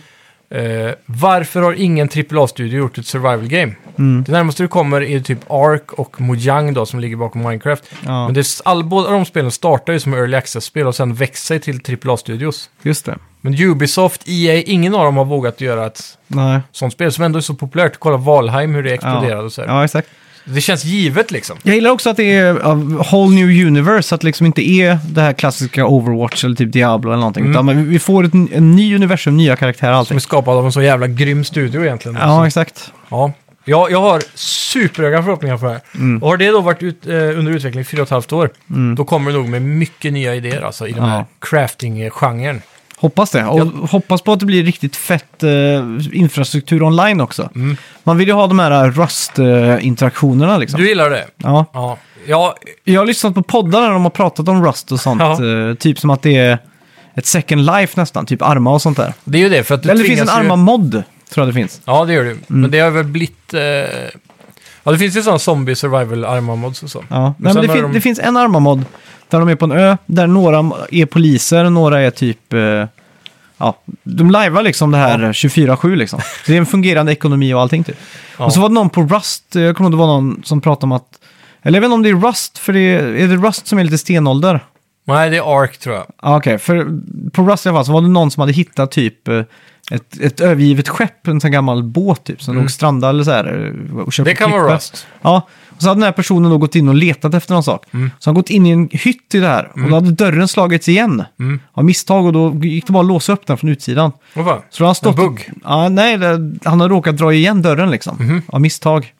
Eh, varför har ingen AAA-studio gjort ett survival game? Mm. Det närmaste du kommer är typ Ark och Mojang då, som ligger bakom Minecraft. Ja. Men det är, all, båda de spelen startar ju som early access-spel och sen växer sig till AAA-studios. *laughs* Just det. Men Ubisoft, EA, ingen av dem har vågat göra ett Nej. sånt spel som ändå är så populärt. Kolla Valheim, hur det exploderade och så här. Ja, exakt. Det känns givet liksom. Jag gillar också att det är a whole new universe, att det liksom inte är det här klassiska Overwatch eller typ Diablo eller någonting. Utan men vi får ett, en ny universum, nya karaktärer och Som allting. är skapad av en så jävla grym studio egentligen. Ja, Alltså, exakt. ja. Jag, jag har superhöga förhoppningar på det här. Mm. Och har det då varit ut, eh, under utveckling i fyra och ett halvt år, då kommer det nog med mycket nya idéer alltså, i den Ja. här crafting-genren. Hoppas det. Och hoppas på att det blir riktigt fett eh, infrastruktur online också. Man vill ju ha de här Rust-interaktionerna liksom. Du gillar det? Ja. Ja. Ja, Jag har lyssnat på poddar där de har pratat om Rust och sånt. Ja. eh, typ som att det är ett second life nästan, typ arma och sånt där. det är ju det. För att du Eller det finns en Mm. tvingas ju... arma-mod, tror jag det finns. Ja, det gör det. Men det har väl blivit... Eh... Ja, det finns ju sån zombie survival arma mods och så. Ja. sen Nej, men det, har fin- de- det finns en armamod där de är på en ö, där några är poliser och några är typ... Eh, ja, de lajvar liksom det här 24-7 liksom. Så det är en fungerande ekonomi och allting typ. Ja. Och så var det någon på Rust, eh, jag kommer ihåg det var någon som pratade om att... Eller jag vet inte om det är Rust, för det är, är det Rust som är lite stenålder? Nej, det är Ark tror jag. Ja, okej. För på Rust i alla fall så var det någon som hade hittat typ eh, ett, ett övergivet skepp, en sån gammal båt typ, som låg strandad eller så här. eh, Och kört Mm. Det på kan vara klippor. Rust. Ja, och så hade den här personen då gått in och letat efter någon sak. Mm. Så han gått in i en hytt i det här och då hade dörren slagits igen Mm. av misstag och då gick det bara att låsa upp den från utsidan. Vad fan? Så då har han stått... En bugg? Mhm. Ja, nej, det, han har råkat dra igen dörren liksom, av misstag.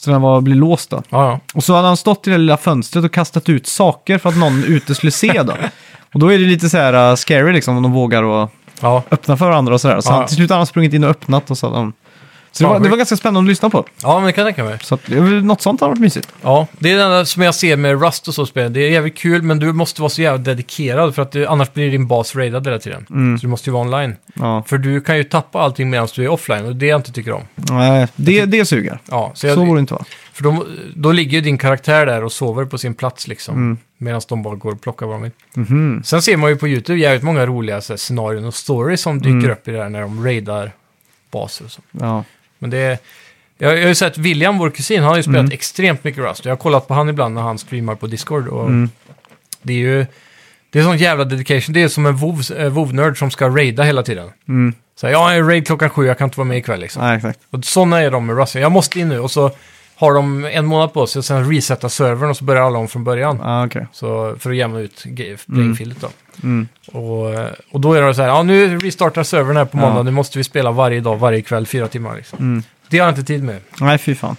Så den var, blev låst då. Ja, ja. Och så hade han stått i det lilla fönstret och kastat ut saker för att någon ute skulle se då. Och då är det lite så här uh, scary liksom om de vågar och ja. öppna för varandra och sådär. Så Ja. han, till slut har han sprungit in och öppnat och så. hade han- Så det Fan, var, det sjukt. var ganska spännande att lyssna på. Ja, men det kan jag tänka mig. Så att, eh, något sånt har varit mysigt. Ja, det är det enda som jag ser med Rust och så spel. Det är jävligt kul, men du måste vara så jävla dedikerad för att du, annars blir din bas raidad hela tiden. Så du måste ju vara online. Ja. För du kan ju tappa allting medan du är offline och det är jag inte tycker om. Nej, det, det suger. Ja, så jag, Så borde det inte vara. För då, då ligger ju din karaktär där och sover på sin plats liksom. Medan de bara går och plockar vad de vill. Sen ser man ju på YouTube jävligt många roliga så här, scenarion och stories som dyker upp i det här när de raidar baser och så. Ja. Men det är... Jag, jag har ju sett William, vår kusin, han har ju spelat extremt mycket Rust. Jag har kollat på han ibland när han streamar på Discord. Och Det är ju... Det är sån jävla dedication. Det är som en eh, WoW-nörd som ska raida hela tiden. Mm. Så här, ja, jag är raid klockan sju, jag kan inte vara med ikväll liksom. Nej, exakt. Och sådana är de med Rust. Jag måste in nu och så har de en månad på sig och sen resetta servern och så börjar alla om från början. Ja, okej. Så för att jämna ut ge- playingfieldet då. Mm. Och, och då är det så här, ja nu restartar servern här på Ja. måndag, nu måste vi spela varje dag, varje kväll, fyra timmar liksom. Mm. Det har jag inte tid med. Nej, fy fan.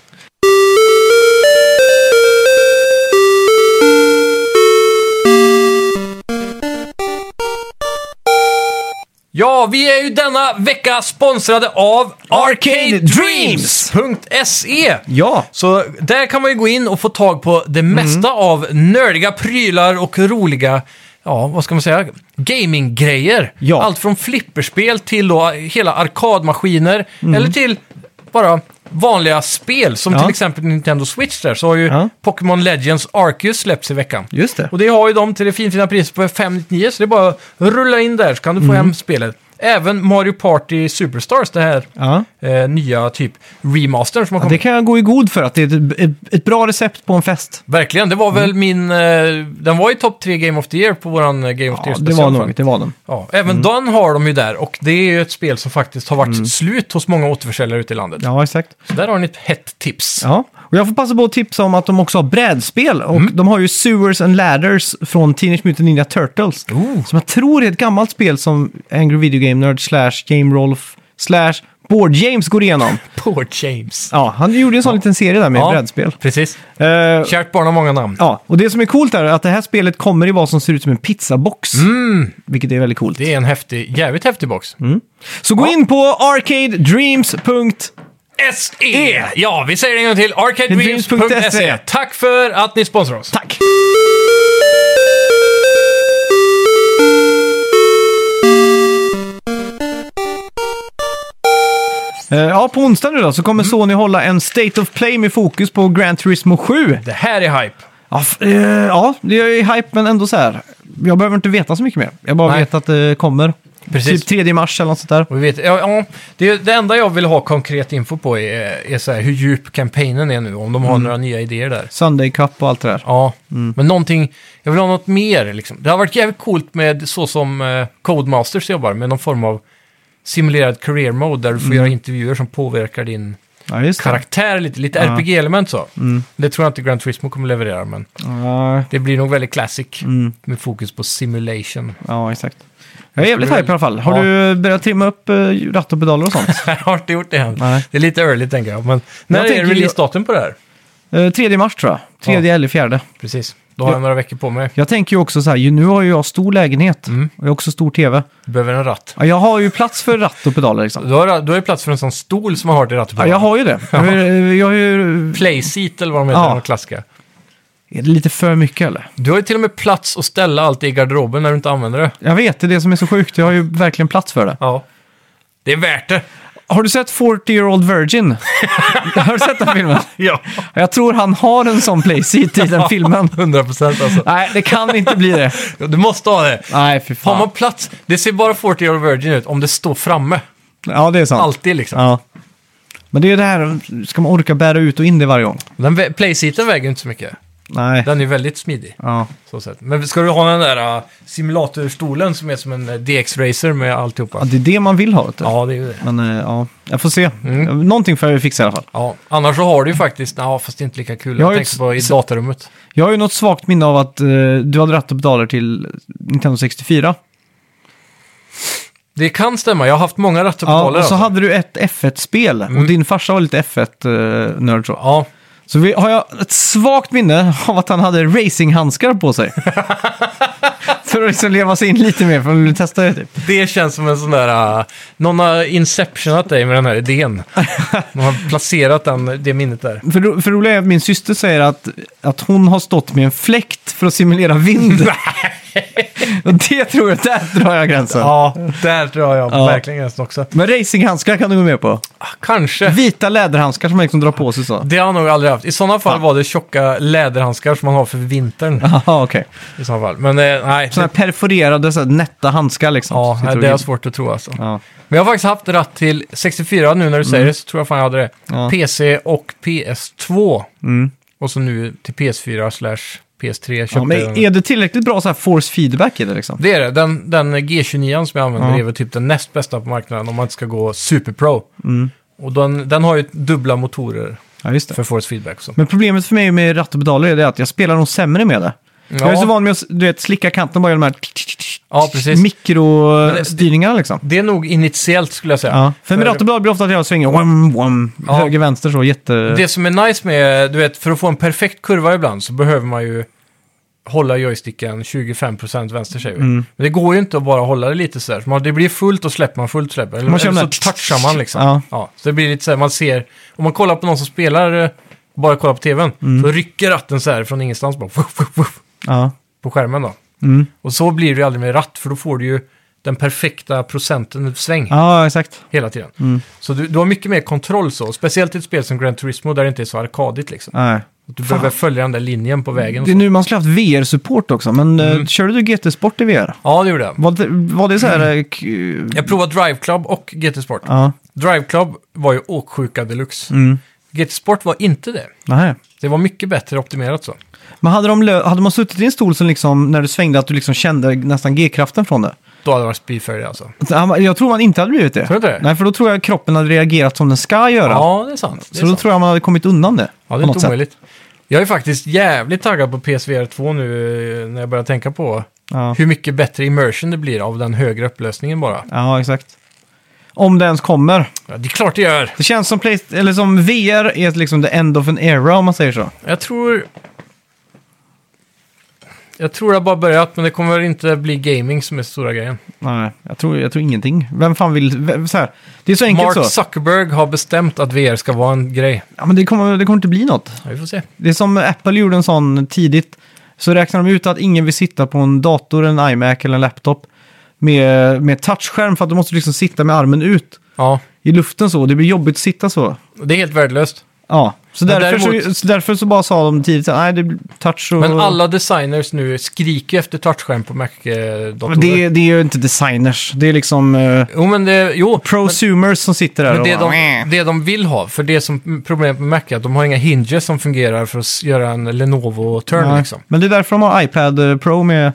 Ja, vi är ju denna vecka sponsrade av ArcadeDreams.se! Ja! Så där kan man ju gå in och få tag på det Mm. mesta av nördiga prylar och roliga, ja vad ska man säga, gaminggrejer. Ja. Allt från flipperspel till då hela arkadmaskiner eller till bara vanliga spel som Mm. Ja. till exempel Nintendo Switch där så har ju Ja. Pokémon Legends Arceus släppts i veckan. Just det. Och det har ju de till det finfina priset på 599 så det är bara att rulla in där så kan du få Mm. hem spelet. Även Mario Party Superstars, det här Ja. eh, nya typ remastern som har kommit. Det kan jag gå i god för att det är ett, ett, ett bra recept på en fest. Verkligen, det var Mm. väl min... Eh, den var i topp 3 Game of the Year på våran eh, Game of the Ja, Year det special. var något, det Mm. var den. Ja, även den har de ju där och det är ju ett spel som faktiskt har varit slut hos många återförsäljare ute i landet. Mm. Ja, exakt. Så där har ni ett hett tips. Ja. Och jag får passa på att tipsa om att de också har brädspel. Och de har ju Sewers and Ladders från Teenage Mutant Ninja Turtles. Oh. Som jag tror är ett gammalt spel som Angry Video Game Nerd slash Game Rolf slash Board James går igenom. Poor James. Ja, han gjorde en sån liten serie där med Ja, brädspel. Precis. Eh, Kärt barn har många namn. Ja, och det som är coolt är att det här spelet kommer i vad som ser ut som en pizzabox. Vilket är väldigt coolt. Det är en häftig, jävligt häftig box. Mm. Så gå in på arcadedreams.se. SE! E! E! Ja, vi säger det en gång till. Arcadedreams.se. E. Tack för att ni sponsrar oss. Tack! Eh, Ja, på onsdag nu då så Mm. kommer Sony hålla en State of Play med fokus på Gran Turismo 7. Det här är hype. Ja, f- eh, ja det är hype men ändå så här. Jag behöver inte veta så mycket mer. Jag bara Nej. vet att det kommer. Precis. Typ 3 mars eller något sånt där. Och vi vet, ja, ja, det, det enda jag vill ha konkret info på är, är så här, hur djup kampanjen är nu, om de har några nya idéer där. Sunday Cup och allt det där. Ja, men någonting, jag vill ha något mer liksom. Det har varit jävligt coolt med så som eh, Codemasters jobbar, med någon form av simulerad career mode där du får göra intervjuer som påverkar din Ja, just det. karaktär lite, lite Ja. RPG-element så. Det tror jag inte Grand Turismo kommer leverera, men Ja, det blir nog väldigt classic mm, med fokus på simulation. *laughs* ja, exakt. Jag är jävligt skulle- hype i alla fall. Har Ja. du börjat trimma upp eh, ratt och pedaler och sånt? jag har inte gjort det än. Nej. Det är lite early tänker jag, men när Jag är tänker- releasedatum på det här? Eh, 3 mars tror jag. 3 Ja. eller 4. Precis. Då har Ja. jag några veckor på mig. Jag tänker ju också så här, ju- nu har ju jag stor lägenhet Mm. och jag har också stor tv. Du behöver en ratt. Ja, jag har ju plats för ratt och pedaler liksom. Du har, du har ju plats för en sån stol som man har till ratt Ja, jag har ju det. Jag, är- jag har ju... Playseat eller vad de heter, Ja. de klassiska. Är det lite för mycket eller? Du har ju till och med plats att ställa allt i garderoben när du inte använder det. Jag vet, det är det som är så sjukt. Jag har ju verkligen plats för det. Ja. Det är värt det. Har du sett 40 year old *laughs* virgin? har du sett den filmen? Ja. Jag tror han har en sån playseat i den filmen. 100 procent alltså. Nej, det kan inte bli det. Du måste ha det. Nej, för Har man fan. plats? Det ser bara 40 year virgin ut om det står framme. Ja, det är sant. Alltid liksom. Ja. Men det är ju det här, ska man orka bära ut och in det varje gång? Den vä- playseaten väger ju inte så mycket. Nej. Den är ju väldigt smidig. Ja. Så sätt. Men ska du ha den där äh, simulatorstolen som är som en äh, DX-racer med ja, alltihopa? det är det man vill ha. Vet du. Ja, Mm. det är ju det. Men eh, ja, jag får se. Någonting får jag ju fixa i alla fall. Ja, annars så har du ju faktiskt, ja fast det är inte lika kul. Jag Jag, har ju tänker på i ett- datarummet. Jag har ju något svagt minne av att eh, du hade ratt och pedaler till Nintendo 64. Det kan stämma, jag har haft många alltså. Ja, rattopitaler. och så hade du ett F1-spel Mm. och din farsa var lite F1-nörd så. Ja, Så vi, har jag ett svagt minne av att han hade racinghandskar på *laughs* sig. för att liksom leva sig in lite mer, för att vill testa det typ. det känns som en sån där, äh, någon har inceptionat dig med den *laughs* här idén. De har placerat den, det minnet där. För, ro- för roligt är att min syster säger att, att hon har stått med en fläkt för att simulera *laughs* vind. och det tror jag, där drar jag gränsen. Ja, där tror jag Ja. verkligen gränsen också. Men racinghandskar kan du gå med på. Ah, Kanske. Vita läderhandskar som man liksom drar på sig *laughs* så. Det har jag nog aldrig haft. I sådana fall var det tjocka läderhandskar som man har för vintern. Jaha, Ah, okej. I sådana fall. Men eh, nej, Sådana här perforerade, så här, nätta handskar liksom. ja, Sitter nej, och det är glider. svårt att tro alltså. Ja. Men jag har faktiskt haft ratt till 64 nu när du säger det, så tror jag fan jag hade det. Mm. Ja. PC och PS2. Mm. Och så nu till PS4 slash PS3 köpte Ja, jag men den. är det tillräckligt bra så här force feedback i det liksom? Det är det. Den, den G29 som jag använder Ja. är väl typ den näst bästa på marknaden om man inte ska gå superpro. Mm. Och den, den har ju dubbla motorer Ja, just det. för force feedback också. Men problemet för mig med ratt och pedaler är det att jag spelar nog sämre med det. Jag är så van med att du vet, slicka kanten bara genom de här Ja, precis. mikrostyrningarna liksom. Det är nog initiellt skulle jag säga. Ja. För med För- ratt och pedaler blir det ofta att jag svänger wham, wham, Ja. höger, vänster så jätte... Det som är nice med, du vet, för att få en perfekt kurva ibland så behöver man ju hålla joysticken 25% vänster säger vi. Mm. Men det går ju inte att bara hålla det lite sådär. Så man- Det blir fullt och släpper man fullt släpper. Eller, Man kör eller så den här- touchar man liksom. Ja. så det blir lite såhär, man ser, om man kollar på någon som spelar, eh, bara kollar på tvn, Mm. så rycker ratten så här från ingenstans bara, wuff, wuff, wuff, Ja. på skärmen då. Mm. Och så blir det ju aldrig med ratt, för då får du ju den perfekta procenten sväng ja, Mm. exakt. hela tiden. Så du, du har mycket mer kontroll så, speciellt i ett spel som Gran Turismo där det inte är så arkadigt liksom. Nej. Du behöver följa den där linjen på vägen. och Det är så. nu man skulle haft VR-support också, men Mm. eh, körde du GT-sport i VR? Ja, det gjorde jag. Var det, var det så här... eh, k- Jag provade Drive Club och GT Sport. Ja. Drive Club var ju åksjuka deluxe. Mm. GT Sport var inte det. Nej. Det var mycket bättre optimerat så. Men hade, de lö- hade man suttit i en stol som liksom, när du svängde, att du liksom kände nästan G-kraften från det? Då hade det varit speedfairy alltså. Jag tror man inte hade blivit det. Tror du inte det? Nej, för då tror jag kroppen hade reagerat som den ska göra. Ja, det är sant. Det är så då sant. tror jag man hade kommit undan det. Ja, på det är något inte sätt. omöjligt. Jag är faktiskt jävligt taggad på PSVR 2 nu eh, när jag börjar tänka på Ja. hur mycket bättre immersion det blir av den högre upplösningen bara. ja, exakt. Om det ens kommer. Ja, det är klart det gör. Det känns som, Play- eller som VR är liksom the end of an era om man säger så. Jag tror... Jag tror det har bara börjat, men det kommer inte bli gaming som är stora grejen. Nej, jag tror, jag tror ingenting. Vem fan vill... Vem, så här. Det är så enkelt Mark så. Zuckerberg har bestämt att VR ska vara en grej. Ja, men det, kommer, det kommer inte bli något. Ja, vi får se. Det är som Apple gjorde en sån tidigt. Så räknar de ut att ingen vill sitta på en dator, en iMac eller en laptop med, med touchskärm för att du måste liksom sitta med armen ut Ja, i luften så. Det blir jobbigt att sitta så. det är helt värdelöst. Ja, så Men därför, så, däremot- så därför så bara sa de tidigt att nej, det blir touch och... Men alla designers nu skriker efter touchskärm på Men Mac-datorer. det, är- det är ju inte designers, det är liksom eh, Jo, men det... Jo, prosumers som sitter där men och det bara, de, det de vill ha, för det som problemet med Mac är att de har inga hinges som fungerar för att s- göra en Lenovo-turn "Nej." liksom. Men det är därför de har iPad eh, Pro med,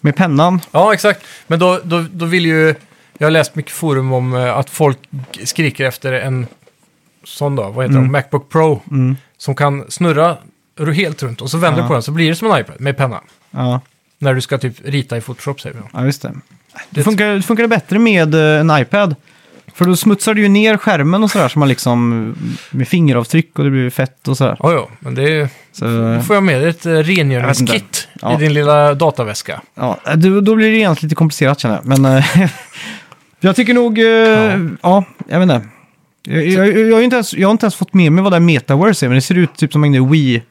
med pennan. Ja, exakt. Men då, då, då vill ju... Jag har läst mycket forum om eh, att folk g- skriker efter en sån då, vad heter Mm. de, Macbook Pro. Som kan snurra r- helt runt och så vänder du Ja. på den så blir det som en iPad med penna. Ja, När du ska typ rita i Photoshop säger vi. då. ja just det. Det funkar, det funkar bättre med eh, en iPad. För då smutsar du ju ner skärmen och sådär, så man liksom med fingeravtryck och det blir fett och sådär. Ja, ja, men det är, Så, då får jag med dig ett eh, Jag vet rengöringskit Ja. i din lilla dataväska. ja, då, då blir det egentligen lite komplicerat känner jag. Men eh, *laughs* jag tycker nog, eh, ja. jag vet inte. Jag, jag, jag, har ju inte ens, jag har inte ens fått med mig vad det här metaverse är, men det ser ut typ som en Wii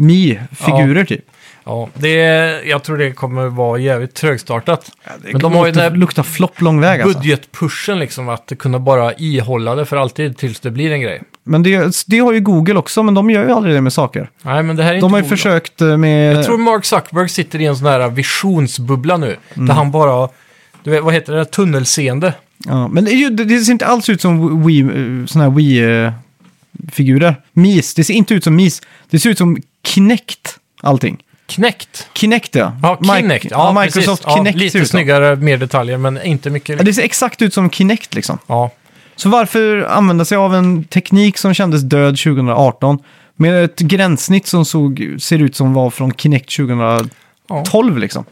Me-figurer typ. Ja, det, är- jag tror det kommer vara jävligt trögstartat. Det Men de har ju luktar, den här luktar flopp lång väg alltså. budgetpushen liksom, att kunna bara ihålla det för alltid tills det blir en grej. Men det, det har ju Google också, men de gör ju aldrig det med saker. Nej, men det här är De inte har ju Google. försökt eh, med... Jag tror Mark Zuckerberg sitter i en sån här visionsbubbla nu. Där han bara, du vet, vad heter det, tunnelseende. Ja, men det, är ju- det, det ser inte alls ut som Wii, eh, såna här Wii-figurer. Mis, det ser inte ut som Mis. Det ser ut som Kinect, allting. Knäckt. Kinect, ja. Ja, Mi- Kinect. ja, Ja, Microsoft precis. Kinect ja, ser Lite ut som. snyggare, mer detaljer, men inte Ja, mycket. det ser exakt ut som Kinect liksom. Ja, Så varför använda sig av en teknik som kändes död 2018 med ett gränssnitt som såg, ser ut som var från Kinect 2012 ja. liksom?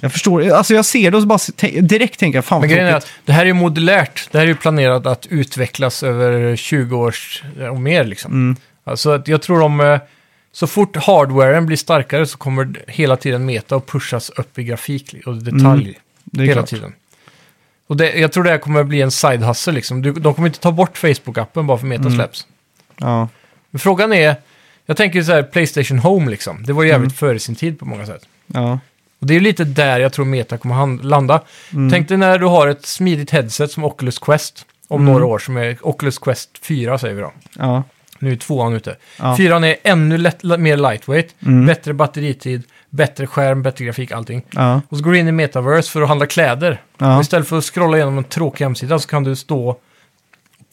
Jag förstår, alltså jag ser det och så bara te- direkt tänker jag fan Men vad grejen är tråkigt. att det här är ju modulärt. Det här är ju planerat att utvecklas över 20 års och mer liksom. Mm. Alltså att jag tror de, eh, så fort hardwaren blir starkare så kommer d- hela tiden meta och pushas upp i grafik och detalj Det är hela klart. tiden. Och det, jag tror det här kommer bli en side hustle liksom. Du, de kommer inte ta bort Facebook-appen bara för Mm. meta släpps. Ja. Men frågan är, jag tänker så här Playstation Home liksom. Det var ju Mm. jävligt före sin tid på många sätt. Ja. Och det är ju lite där jag tror Meta kommer hand- landa. Mm. Tänk dig när du har ett smidigt headset som Oculus Quest om Mm. några år, som är Oculus Quest 4 säger vi då. Ja. Nu är tvåan ute. Ja. Fyran är ännu lätt, la- mer lightweight, Mm. bättre batteritid, bättre skärm, bättre grafik, allting. Ja. Och så går du in i Metaverse för att handla kläder. Ja. Och istället för att scrolla igenom en tråkig hemsida så kan du stå och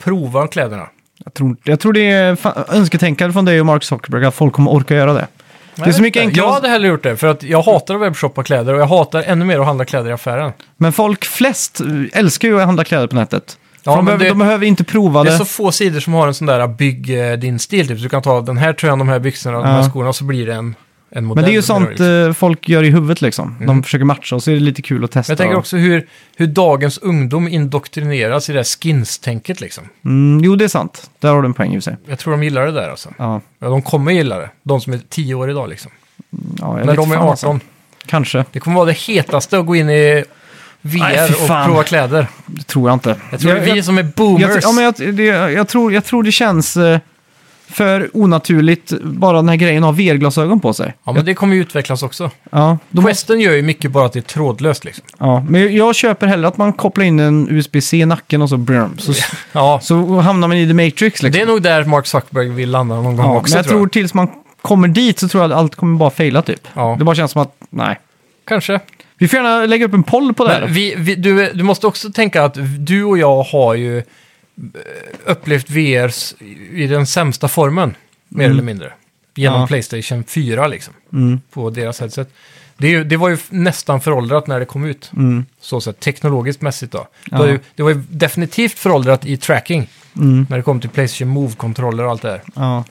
prova kläderna. Jag tror, jag tror det är fa- önsketänkande från dig och Mark Zuckerberg att folk kommer orka göra det. Det är så mycket enklare. Jag hade hellre gjort det, för att jag hatar att webbshoppa kläder och jag hatar ännu mer att handla kläder i affären. Men folk flest eh, älskar ju att handla kläder på nätet. Ja, För de, men behöver, det- de behöver inte prova det. Det är så få sidor som har en sån där bygg eh, din stil. Typ. Så Du kan ta den här tröjan, de här byxorna, de här Ja. skorna och så blir det en, en modell. men det är ju som sånt liksom. eh, folk gör i huvudet liksom. De försöker matcha och så är det lite kul att testa. Mm. Men jag tänker och- också hur, hur dagens ungdom indoktrineras i det här skins-tänket liksom. Mm, jo, det är sant. Där har du en poäng i och för sig. Jag tror de gillar det där alltså. Ja, Ja, de kommer gilla det, de som är 10 år idag liksom. ja, jag När vet de är fan, 18. alltså. Kanske. Det kommer vara det hetaste att gå in i VR Nej, fy och fan. prova kläder. Det tror jag inte. Jag tror det är vi som är jag, boomers. ja, men jag, det, jag, tror, jag tror det känns eh, för onaturligt bara den här grejen att ha VR-glasögon på sig. det kommer ju utvecklas också. Ja, då Questen gör ju mycket bara att det är trådlöst liksom. Ja, men jag köper hellre att man kopplar in en USB-C i nacken och så brum, så, Ja, så hamnar man i The Matrix liksom. det är nog där Mark Zuckerberg vill landa någon gång ja, också. men jag tror, tills man kommer dit så tror jag att allt kommer bara fejla typ. Ja. Det bara känns som att, nej. Kanske. Vi får gärna lägga upp en poll på det Men här. vi, vi, du, du måste också tänka att du och jag har ju eh, upplevt VR s- i den sämsta formen, mer eller mindre. Genom Mm. Ja. Playstation 4 liksom, Mm. på deras headset. Det, är ju- det var ju f- nästan föråldrat när det kom ut, Mm, så sett, teknologiskt mässigt då. Det Ja. var, ju, det var ju definitivt föråldrat i tracking, mm, när det kom till Playstation Move-kontroller och allt det där. ja.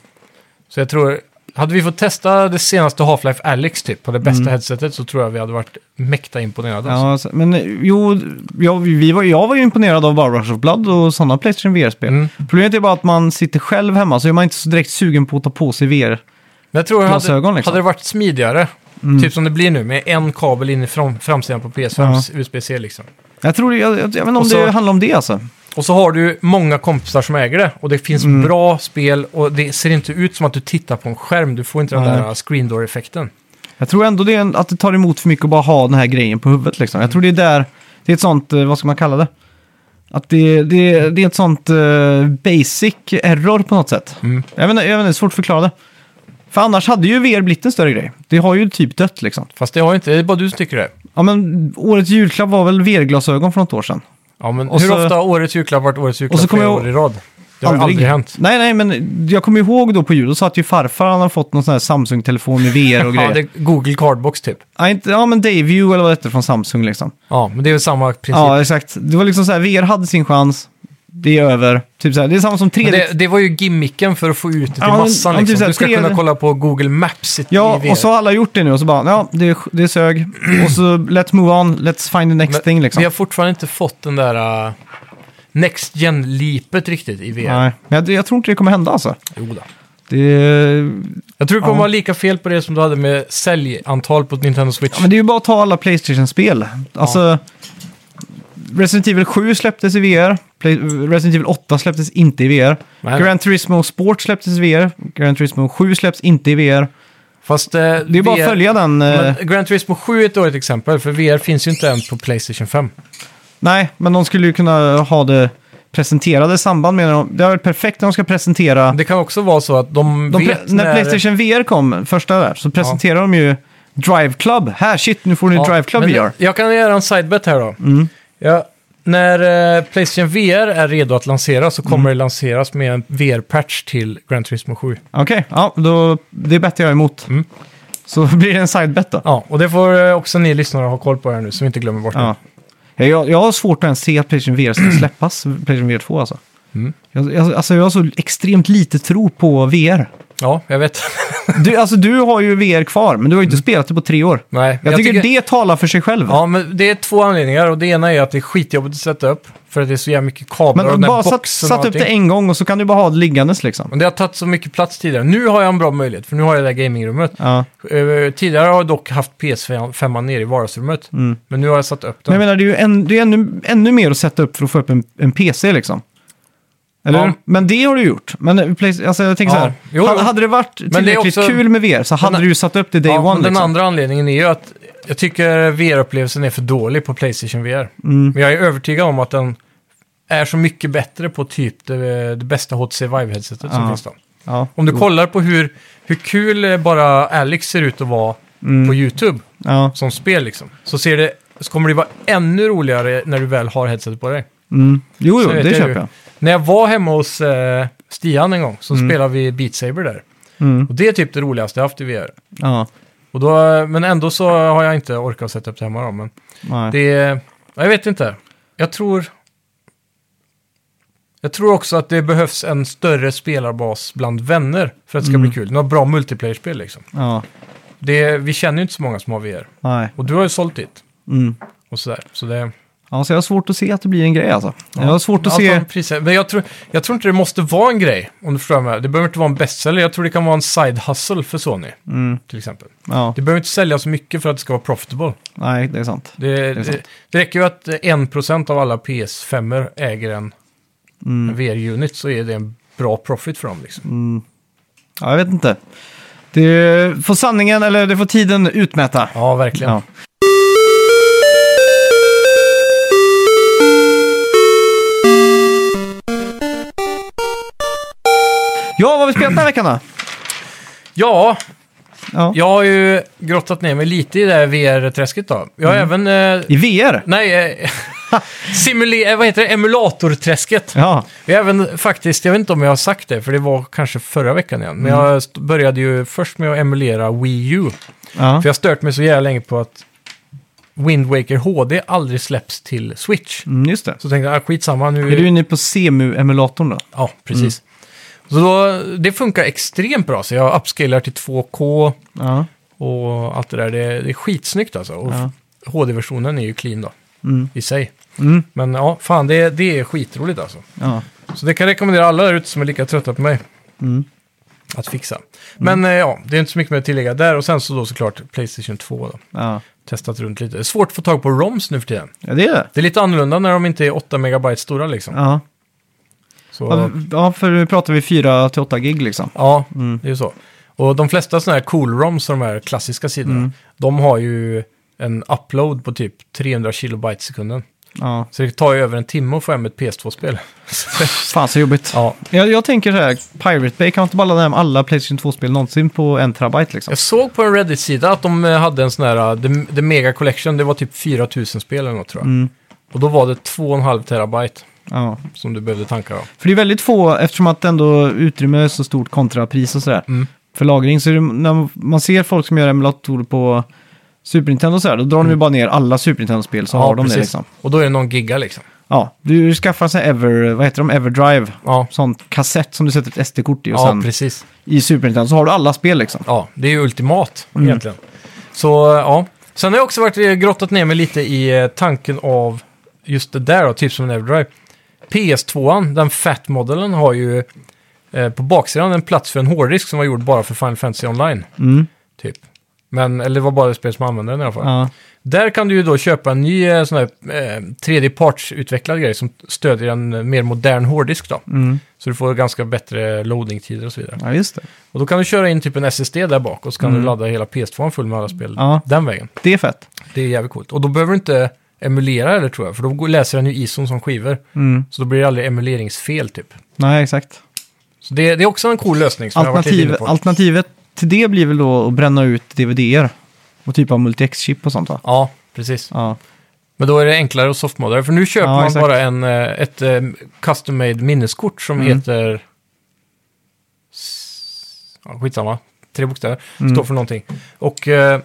Så jag tror, hade vi fått testa det senaste Half-Life Alyx typ, på det bästa Mm. headsetet, så tror jag vi hade varit mäkta imponerade. alltså. ja, så- men eh, jo, jag, vi var, jag var ju imponerad av bara Rush of Blood och sådana Playstation VR-spel. Mm. Problemet är bara att man sitter själv hemma så är man inte så direkt sugen på att ta på sig VR. Men jag tror hade, Glasögon, liksom. hade det varit smidigare, Mm. typ som det blir nu med en kabel in i fram, framsidan på PS5s USB-C liksom. Jag tror, jag, jag, jag vet inte om Och så- det handlar om det alltså. Och så har du många kompisar som äger det och det finns Mm. bra spel och det ser inte ut som att du tittar på en skärm. Du får inte den Nej. där screen door-effekten. Jag tror ändå det är en, att det tar emot för mycket att bara ha den här grejen på huvudet. Liksom. Jag tror det är där, det är ett sånt, eh, vad ska man kalla det? Att det, det, det är ett sånt eh, basic error på något sätt. Mm. Jag vet inte, jag vet inte, det är svårt att förklara det. För annars hade ju VR blivit en större grej. Det har ju typ dött liksom. Fast det har ju inte, det är bara du som tycker det. Ja men årets julklapp var väl VR-glasögon för något år sedan. Ja, men Och hur så- ofta har årets julklapp varit årets så julklapp kommer flera jag- år i rad? Det har ju aldrig hänt. Nej, nej, men jag kommer ihåg då på jul, då satt ju farfar, han har fått någon sån här Samsung-telefon med VR och grejer. *laughs* Ja, det är Google Cardbox typ. ja, inte, ja, men Dayview eller vad det hette från Samsung liksom. Ja, men det är väl samma princip. Ja, exakt. Det var liksom så här, VR hade sin chans, det är över. Typ så här, det är samma som 3D. Men det, det var ju gimmicken för att få ut det till Ja, men- massan. ja, men Liksom. typ så här, du ska tre- kunna kolla på Google Maps i Ja, i VR. och så har alla gjort det nu och så bara, ja, det, det sög. Och så let's move on, let's find the next Men thing liksom. Vi har fortfarande inte fått den där... äh, next gen-lipet riktigt i VR. Nej, men jag, jag tror inte det kommer hända alltså. Jo då. Det, Jag tror du Ja. kommer vara lika fel på det som du hade med säljantal på Nintendo Switch. ja, men det är ju bara att ta alla Playstation-spel. Alltså, Resident Evil 7 släpptes i VR. Play, Resident Evil 8 släpptes inte i VR. Nej, Gran Turismo Sport släpptes i VR. Gran Turismo 7 släpps inte i VR. Fast, eh, Det är bara att följa den. eh, Men Gran Turismo 7 är ett dåligt exempel, för VR finns ju inte än på Playstation 5. Nej, men de skulle ju kunna ha det presenterade i samband med... dem. Det har varit perfekt när de ska presentera... Det kan också vara så att de, De pre- vet när Playstation VR kom, första där, så presenterade de ju Drive Club. Här, shit, nu får ni Ja, Drive Club Mm. men VR. Jag kan göra en sidebet här då. Ja, när eh, Playstation VR är redo att lanseras så kommer Mm. det lanseras med en VR-patch till Gran Turismo 7. Okej, ja, då, det bettar jag emot. Mm. Så *laughs* blir det en sidebet då. Ja, och det får eh, också ni lyssnare ha koll på här nu, så vi inte glömmer bort det. Ja. Ja, Jag, jag har svårt att ens se att Playstation VR *clears throat* ska släppas, Playstation VR 2 alltså. Mm. Jag, jag, alltså. Jag har så extremt lite tro på VR. Ja, jag vet. *laughs* Du, alltså, du har ju VR kvar, men du har ju inte spelat det på tre år. Nej, Jag, tycker, det talar för sig själv. Mm. Ja, men det är två anledningar och det ena är att det är skitjobbigt att sätta upp för att det är så jävla mycket kablar Men och den bara där satt, boxen och satt upp allting. det en gång och så kan du bara ha det liggandes liksom. Men det har tagit så mycket plats tidigare. Nu har jag en bra möjlighet, för nu har jag det där gamingrummet. Ja. Eh, Tidigare har jag dock haft PS5 nere i vardagsrummet, Mm. men nu har jag satt upp Men jag den. menar, det är ju en, det är ännu, ännu mer att sätta upp för att få upp en, en PC liksom. Eller Ja. hur? Men det har du gjort. Men Play- alltså, jag tänker Ja. så här, Jo, hade- jo. hade det varit det är tillräckligt också- kul med VR så hade Men- du ju satt upp det day ja, men one. Den Liksom. andra anledningen är ju att jag tycker VR-upplevelsen är för dålig på Playstation VR. Mm. Men jag är övertygad om att den är så mycket bättre på typ det, det bästa HTC Vive-headsetet som Ja. finns då. Ja. Om du kollar på hur, hur kul eh, bara Alex ser ut att vara på Mm. YouTube Ja. som spel liksom, så, ser det, så kommer det vara ännu roligare när du väl har headsetet på dig. Mm. Jo, Så jo, vet det jag köper ju. jag. När jag var hemma hos eh, Stian en gång så Mm. spelade vi Beat Saber där. Mm. Och det är typ det roligaste jag haft i VR. Ja. Och då, men ändå så har jag inte orkat sätta upp det hemma då. Men Nej. det är, jag vet inte. Jag tror... Jag tror också att det behövs en större spelarbas bland vänner för att det ska Mm. bli kul. Några bra multiplayer-spel liksom. Ja. Det, vi känner ju inte så många som har VR. Nej. Och du har ju sålt ditt. Mm. Och sådär. Så det, Ja, så jag har svårt att se att det blir en grej alltså. Jag har svårt att Allt se... har priser. Men jag tror, jag tror inte det måste vara en grej, om du förstår vad jag menar. Det behöver inte vara en bestseller. Jag tror det kan vara en side hustle för Sony, Mm. till exempel. Ja. Det behöver inte sälja så mycket för att det ska vara profitable. Nej, det är sant. Det, det, är sant. det, räcker ju att eh, 1% av alla PS5 -er äger en Mm. VR-unit så är det en bra profit för dem. Liksom. Mm. Ja, jag vet inte. Det får sanningen, eller det får tiden utmäta. Ja, verkligen. Ja. Ja, vad har vi spelat den här veckan då? Ja, Ja. jag har ju grottat ner mig lite i det här VR-träsket då. Jag har Mm. även... Eh, I VR? nej, eh, *laughs* simulera... Vad heter det? Emulatorträsket. Ja. Jag har även faktiskt, jag vet inte om jag har sagt det, för det var kanske förra veckan igen. Men jag st- började ju först med att emulera Wii U. Mm. ja. För jag har stört mig så jävla länge på att Wind Waker HD aldrig släpps till Switch. Mm, just det. Så tänkte jag, ah, skitsamma nu. Är du inne på CMU-emulatorn då? Ja, precis. Mm. Så då, det funkar extremt bra, så jag upscalar till 2K Ja. och allt det där. Det, det är skitsnyggt alltså. Och Ja. HD-versionen är ju clean då, Mm. i sig. Mm. Men ja, fan, det, det är skitroligt alltså. Ja. Så det kan jag rekommendera alla där ute som är lika trötta på mig. Mm. Att fixa. Men eh, ja, det är inte så mycket mer att tillägga där. Och sen så då såklart Playstation 2 då. Ja. Testat runt lite. Det är svårt att få tag på ROMs nu för tiden. ja, det är det. Det är lite annorlunda när de inte är 8 megabyte stora liksom. Ja. Så, ja, för nu pratar vi 4-8 gig liksom. ja, Mm. det är ju så. Och de flesta sådana här cool ROMs, de här klassiska sidorna, Mm. de har ju en upload på typ 300 kilobyte i sekunden. Ja. Så det tar ju över en timme att få hem ett *laughs* PS2-spel. Fan så jobbigt. ja, Jag, jag tänker så här, Pirate Bay kan man inte bara ladda hem alla Playstation 2-spel någonsin på en terabyte liksom. Jag såg på en Reddit-sida att de eh, hade en sån här, uh, The, the Mega Collection, det var typ 4000 spel eller något tror jag. Mm. Och då var det 2,5 terabyte Ja. som du behövde tanka av. För det är väldigt få, eftersom att ändå utrymme är så stort kontra pris och sådär. Mm. För lagring, så är det, när man ser folk som gör emulatorer på Super Nintendo och sådär, då drar de ju bara ner alla Super Nintendo-spel så har de det liksom. Och då är det någon giga liksom. Ja, du skaffar sig Ever, vad heter de, Everdrive, Ja, sån kassett som du sätter ett SD-kort i och ja sen precis. i Super Nintendo så har du alla spel liksom. Ja, det är ju ultimat Mm. egentligen. Så eh, ja. Sen har jag också varit eh, grottat ner mig lite i eh, tanken av just det där då, typ som en Everdrive. PS2, den Fat-modellen, har ju eh, på baksidan en plats för en hårddisk som var gjord bara för Final Fantasy Online. Mm. Typ. Men, eller det var bara det spel som använde den i alla fall. Ja. Där kan du ju då köpa en ny eh, sån här eh, tredjepartsutvecklad grej som stödjer en eh, mer modern hårddisk då. Mm. Så du får ganska bättre loadingtider och så vidare. ja, just det. Och då kan du köra in typ en SSD där bak och så kan Mm. du ladda hela PS2 full med alla spel Ja. den vägen. Det är fett. Det är jävligt coolt. Och då behöver du inte emulera eller tror jag, för då går- läser den ju ISOn som skivor. Mm. Så då blir det aldrig emuleringsfel typ. Nej, Nej, exakt. Så det, det är också en cool lösning som jag har Alternativ, varit lite inne på. alternativet till det blir väl då att bränna ut DVD-er och typ av multi-X-chip och sånt va? Ja, precis. Ja, Men då är det enklare och softmodare, för nu köper Ja, man exakt. bara en, eh, ett eh, custom made minneskort som Mm. heter... S- Ja, skitsamma, tre bokstäver. Mm. Står för någonting. Och eh,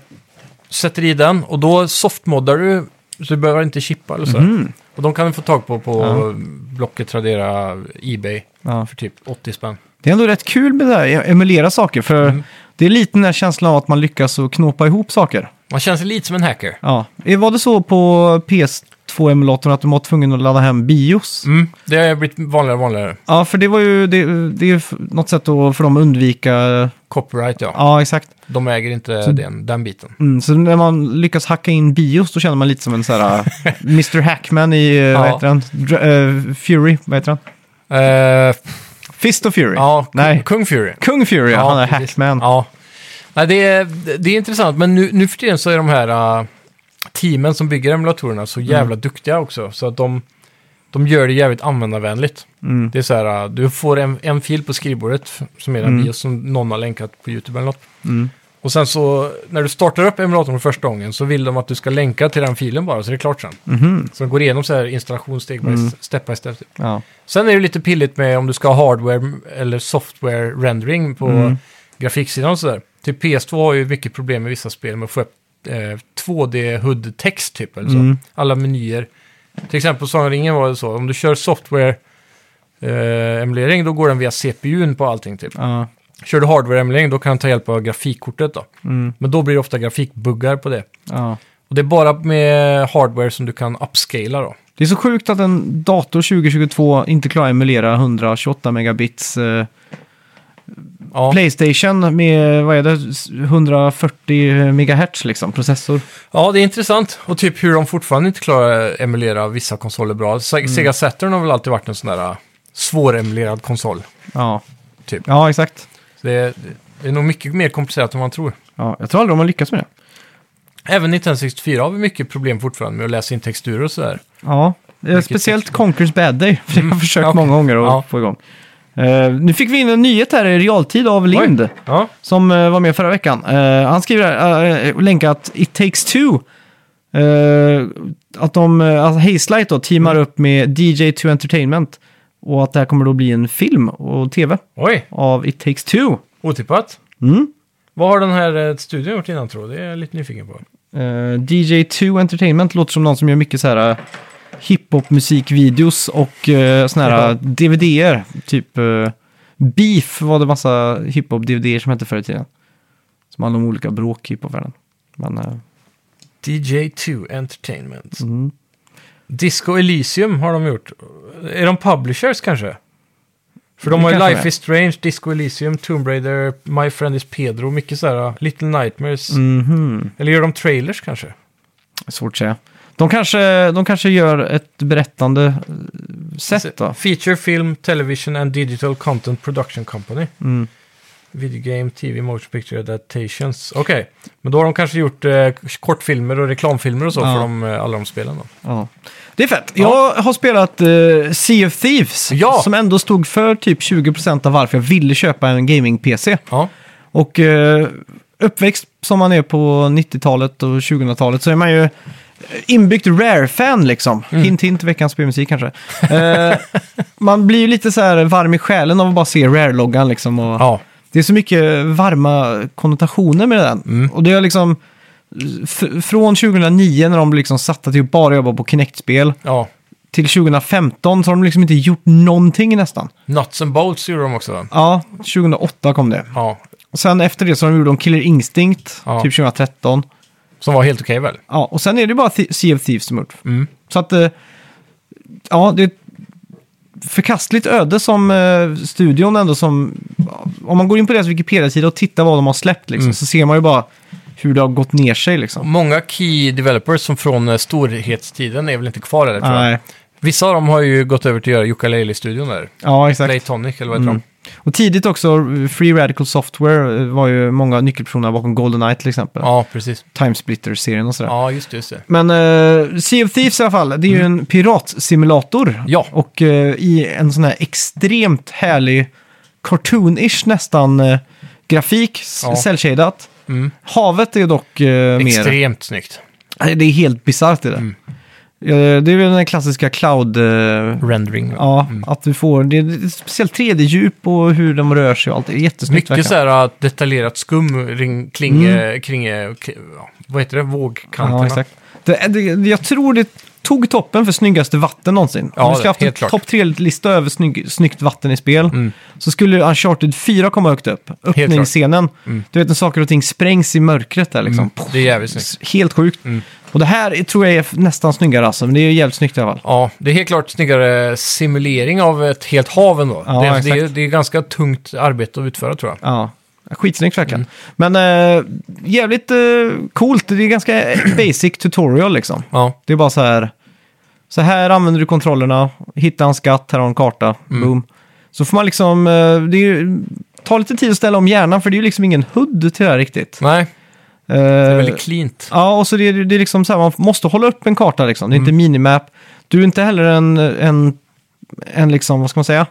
sätter i den och då softmoddar du, så du behöver inte chippa eller så. mm. Och de kan du få tag på på Ja. Blocket, Tradera, Ebay ja. för typ 80 spänn. Det är ändå rätt kul med det här, e- emulera saker, för Mm. det är lite den där känslan av att man lyckas att knåpa ihop saker. Man känns lite som en hacker. Ja. Eh, Var det så på PS2-emulatorn att du var tvungen att ladda hem bios? Mm. Det har blivit vanligare och vanligare. Ja, för det var ju det, det är ju f- något sätt då för dem att undvika... Copyright ja. Ja, exakt. De äger inte Så- den, den biten. Mm, så när man lyckas hacka in bios då känner man lite som en sån här *laughs* äh, Mr. Hackman i, eh, vad Ja. heter den? Dr- eh, Fury, vad heter han? Eh, Fist of Fury? ja, Nej. Nej. Kung Fury. Kung Fury, ja, Ja, han är precis. Hackman. Ja. Nej, det, är, det är intressant, men nu, nu för tiden så är de här äh, teamen som bygger emulatorerna Mm. så jävla duktiga också. Så att de, de gör det jävligt användarvänligt. Mm. Det är så här, äh, du får en, en fil på skrivbordet f- som är den Mm. bios som någon har länkat på YouTube eller något. Mm. Och sen så, när du startar upp emulatorn för första gången så vill de att du ska länka till den filen bara, så det är klart sen. Mhm. Så de går igenom så här installationssteg, by Mm. step by step. Typ. Ja. Sen är det lite pilligt med om du ska ha hardware eller software rendering på Mm. grafiksidan och sådär. Typ PS2 har ju mycket problem med vissa spel med att få upp eh, 2D-HUD-text typ. Eller så. Mm. Alla menyer. Till exempel Sagan om ringen var det så. Om du kör software-emulering då går den via CPUn på allting typ. Ja. Kör du hardware-emulering då kan den ta hjälp av grafikkortet då. Mm. Men då blir det ofta grafikbuggar på det. ja. Och det är bara med hardware som du kan upscala då. Det är så sjukt att en dator 2022 inte klarar att emulera 128 megabits eh, Ja. Playstation med, vad är det, 140 megahertz liksom, processor. Ja, det är intressant. Och typ hur de fortfarande inte klarar att emulera vissa konsoler bra. Se- Sega Saturn har väl alltid varit en sån där äh, svåremulerad konsol. Ja, Typ. ja exakt. Så det, är, det är nog mycket mer komplicerat än man tror. Ja, jag tror aldrig de har lyckats med det. Även 1964 har vi mycket problem fortfarande med att läsa in texturer och sådär. Ja, eh, Vilket speciellt text- Conquer's Bad Day. För jag har försökt ja, okej. många gånger att Ja. få igång. Eh, nu fick vi in en nyhet här i realtid av Lind. Ja. Som eh, var med förra veckan. Eh, han skriver här, uh, länkat It takes two. Eh, att de, uh, att Hazelight då teamar upp med DJ2 Entertainment. Och att det här kommer då bli en film och tv Oj, av It takes two. otippat. Mm. Vad har den här eh, studion gjort innan tror du? Det är jag lite nyfiken på. Eh, DJ2 Entertainment låter som någon som gör mycket så här eh, hiphop-musikvideos och uh, såna här Ja. DVD-er. Typ eh, Beef var det massa hiphop-DVD-er som hette förr i tiden. Som handlade om olika bråk i hiphopvärlden. Men, eh, DJ2 Entertainment. mm. Disco Elysium har de gjort. Är de publishers kanske? För de Det har ju kanske de Life är. is Strange, Disco Elysium, Tomb Raider, My Friend is Pedro, mycket sådär. Little Nightmares. Mhm. Eller gör de trailers kanske? Svårt att säga. De kanske, de kanske gör ett berättande eh, sätt då. Alltså, Feature Film, Television and Digital Content Production Company. Mm. Video Game, TV, Motion Picture Adaptations. Okej, men då har de kanske gjort eh, kortfilmer och reklamfilmer och så Ja. för de, eh, alla de spelen då. Ja. Det är fett. Ja. Jag har spelat eh, Sea of Thieves. Ja. Som ändå stod för typ 20% av varför jag ville köpa en gaming-PC. Ja, Och eh, uppväxt som man är på 90-talet och 2000-talet så är man ju inbyggt rare-fan liksom. Mm. Hint hint, veckans spelmusik kanske. Eh, man blir ju lite så här varm i själen av att bara se rare-loggan liksom. Och ja. Det är så mycket varma konnotationer med den. Och det är liksom f- från 2009 när de liksom satte till att bara jobba på Kinect-spel ja. till 2015 så har de liksom inte gjort någonting nästan. Nuts and Bolts gjorde de också. va? Ja, 2008 kom det. Ja, Och sen efter det så har de gjort om Killer Instinct, Ja. typ 2013. som var helt okej väl? Ja, och sen är det bara Th- Sea of Thieves som gjort. Mm. Så att, eh, ja, det är ett förkastligt öde som eh, studion ändå som... Om man går in på deras Wikipedia-sida och tittar vad de har släppt Mm. liksom, så ser man ju bara hur det har gått ner sig liksom. Många key developers som från eh, storhetstiden är väl inte kvar där tror jag. Nej. Vissa av dem har ju gått över till att göra Ukulele-studion där. Ja, exakt. Playtonic eller vad heter Mm. Och tidigt också, Free Radical Software eh, var ju många av nyckelpersonerna bakom Goldeneye till exempel. de? Ja, precis. Timesplitter-serien och sådär. Ja, just det. Just det. Men eh, Sea of Thieves i alla fall, det är ju Mm. en piratsimulator. Ja. Och eh, i en sån här extremt härlig, cartoon-ish nästan, eh, grafik, Ja. ja. cellshadat. Mm. Havet är dock eh, mer... Extremt snyggt. Nej, Det är helt bisarrt det där. Mm. Eh, det är väl den här klassiska cloud... Eh, Rendering. Ja. Ja, att du får, det är ett speciellt 3D-djup och hur de rör sig och allt. Det är jättesnyggt. Mycket verkligen. Mm. så här äh, detaljerat skum ring, kring, eh, kring eh, k- ja, vad heter det, vågkanterna. Ja, exakt. Det, det, jag tror det tog toppen för snyggaste vatten någonsin. Ja, Om vi ska det- haft en helt klart. Mm. topp tre-lista över snygg, snyggt vatten i spel så skulle Uncharted 4 komma högt upp. Öppningsscenen. Mm. Du vet när saker och ting sprängs i mörkret där liksom. Poff, Det är jävligt snyggt. Helt sjukt. Mm. Och det här är- tror jag är f- nästan snyggare alltså, men det är ju jävligt snyggt i alla fall. Ja, det är helt klart snyggare simulering av ett helt hav ändå. Ja, det, det, exakt. är, det är ganska tungt arbete att utföra tror jag. Ja. Skitsnyggt verkligen. Mm. Men eh, jävligt eh, coolt. Det är ganska *clears throat* basic tutorial liksom. Ja, Det är bara så här. Så här använder du kontrollerna. Hitta en skatt, här har du en karta. Mm. Boom. Så får man liksom... eh, Det är ju, ta lite tid att ställa om hjärnan för det är ju liksom ingen HUD till det här riktigt. nej, Eh, väldigt cleant. ja, och så det är, det är liksom så här, man måste hålla upp en karta liksom. Det är Mm. inte minimap. Du är inte heller en, en, en liksom, vad ska man säga?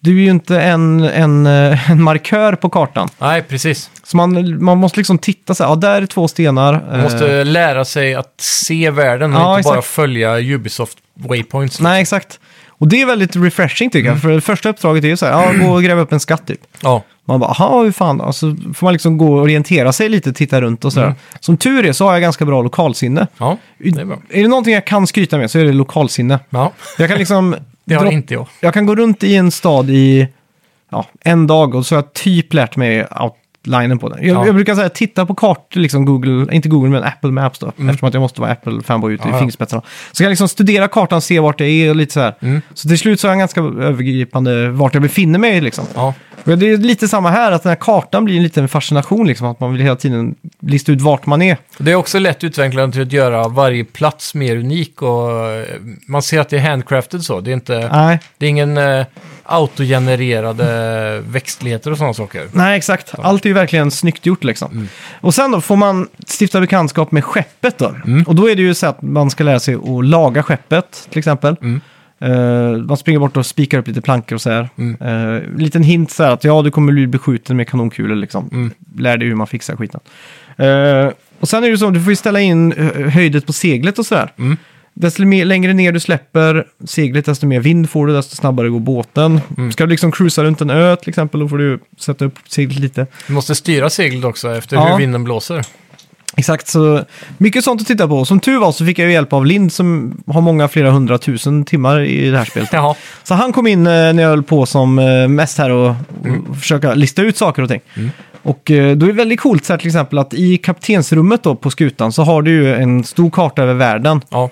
Du är ju inte en, en, eh, *laughs* en markör på kartan. Nej, precis. Så man, man måste liksom titta så här, ja där är två stenar. Man Eh, måste lära sig att se världen och Ja, inte bara exakt. följa Ubisoft waypoints. Nej, exakt. Och det är väldigt refreshing tycker Mm. jag. För det första uppdraget är ju så här, ja, gå och gräva upp en skatt typ. Ja, Man bara, aha, hur fan. Och så får man liksom gå och orientera sig lite, titta runt och sådär. Som tur är så har jag ganska bra lokalsinne. ja, Mm. det är bra. Är det någonting jag kan skryta med så är det lokalsinne. Ja, Jag kan liksom... det har droppa- inte jag. jag kan gå runt i en stad i ja, en dag och så har jag typ lärt mig outlinen på den. Jag, Ja. jag brukar säga titta på kartor, liksom Google, inte Google men Apple Maps då, eftersom att jag måste vara Apple-fanboy ute Mm. Ja, ja. i fingerspetsarna. Så kan jag liksom studera kartan, se vart det är och lite så här. Mm. Så till slut så har jag ganska övergripande vart jag befinner mig liksom. Ja, Och det är lite samma här, att den här kartan blir en liten fascination liksom, att man vill hela tiden lista ut vart man är. Det är också lätt utvecklande till att göra varje plats mer unik och eh, man ser att det är handcrafted så. Det är, inte, Nej. det är ingen eh, autogenererade eh, växtligheter och sådana saker. Nej, exakt. Allt är ju verkligen snyggt gjort liksom. Och sen då får man stifta bekantskap med skeppet då. Och då är det ju så att man ska lära sig att laga skeppet till exempel. Eh, man springer bort och spikar upp lite plankor och så här. Eh, liten hint så här att ja, du kommer bli beskjuten med kanonkulor liksom. Lär dig hur man fixar skiten. Eh, och sen är det ju så, du får ju ställa in eh, höjdet på seglet och så här. Desto mer, längre ner du släpper seglet, desto mer vind får du, desto snabbare går båten. Ska du liksom cruisa runt en ö till exempel, då får du sätta upp seglet lite. Du måste styra seglet också efter Ja. hur vinden blåser. Exakt, så mycket sånt att titta på. Som tur var så fick jag ju hjälp av Lind som har många flera hundratusen timmar i det här *laughs* spelet. Jaha. Så han kom in eh, när jag höll på som eh, mest här och, och försöka lista ut saker och ting. Och eh, då är det väldigt coolt så här, till exempel att i kaptensrummet då på skutan så har du ju en stor karta över världen. Ja.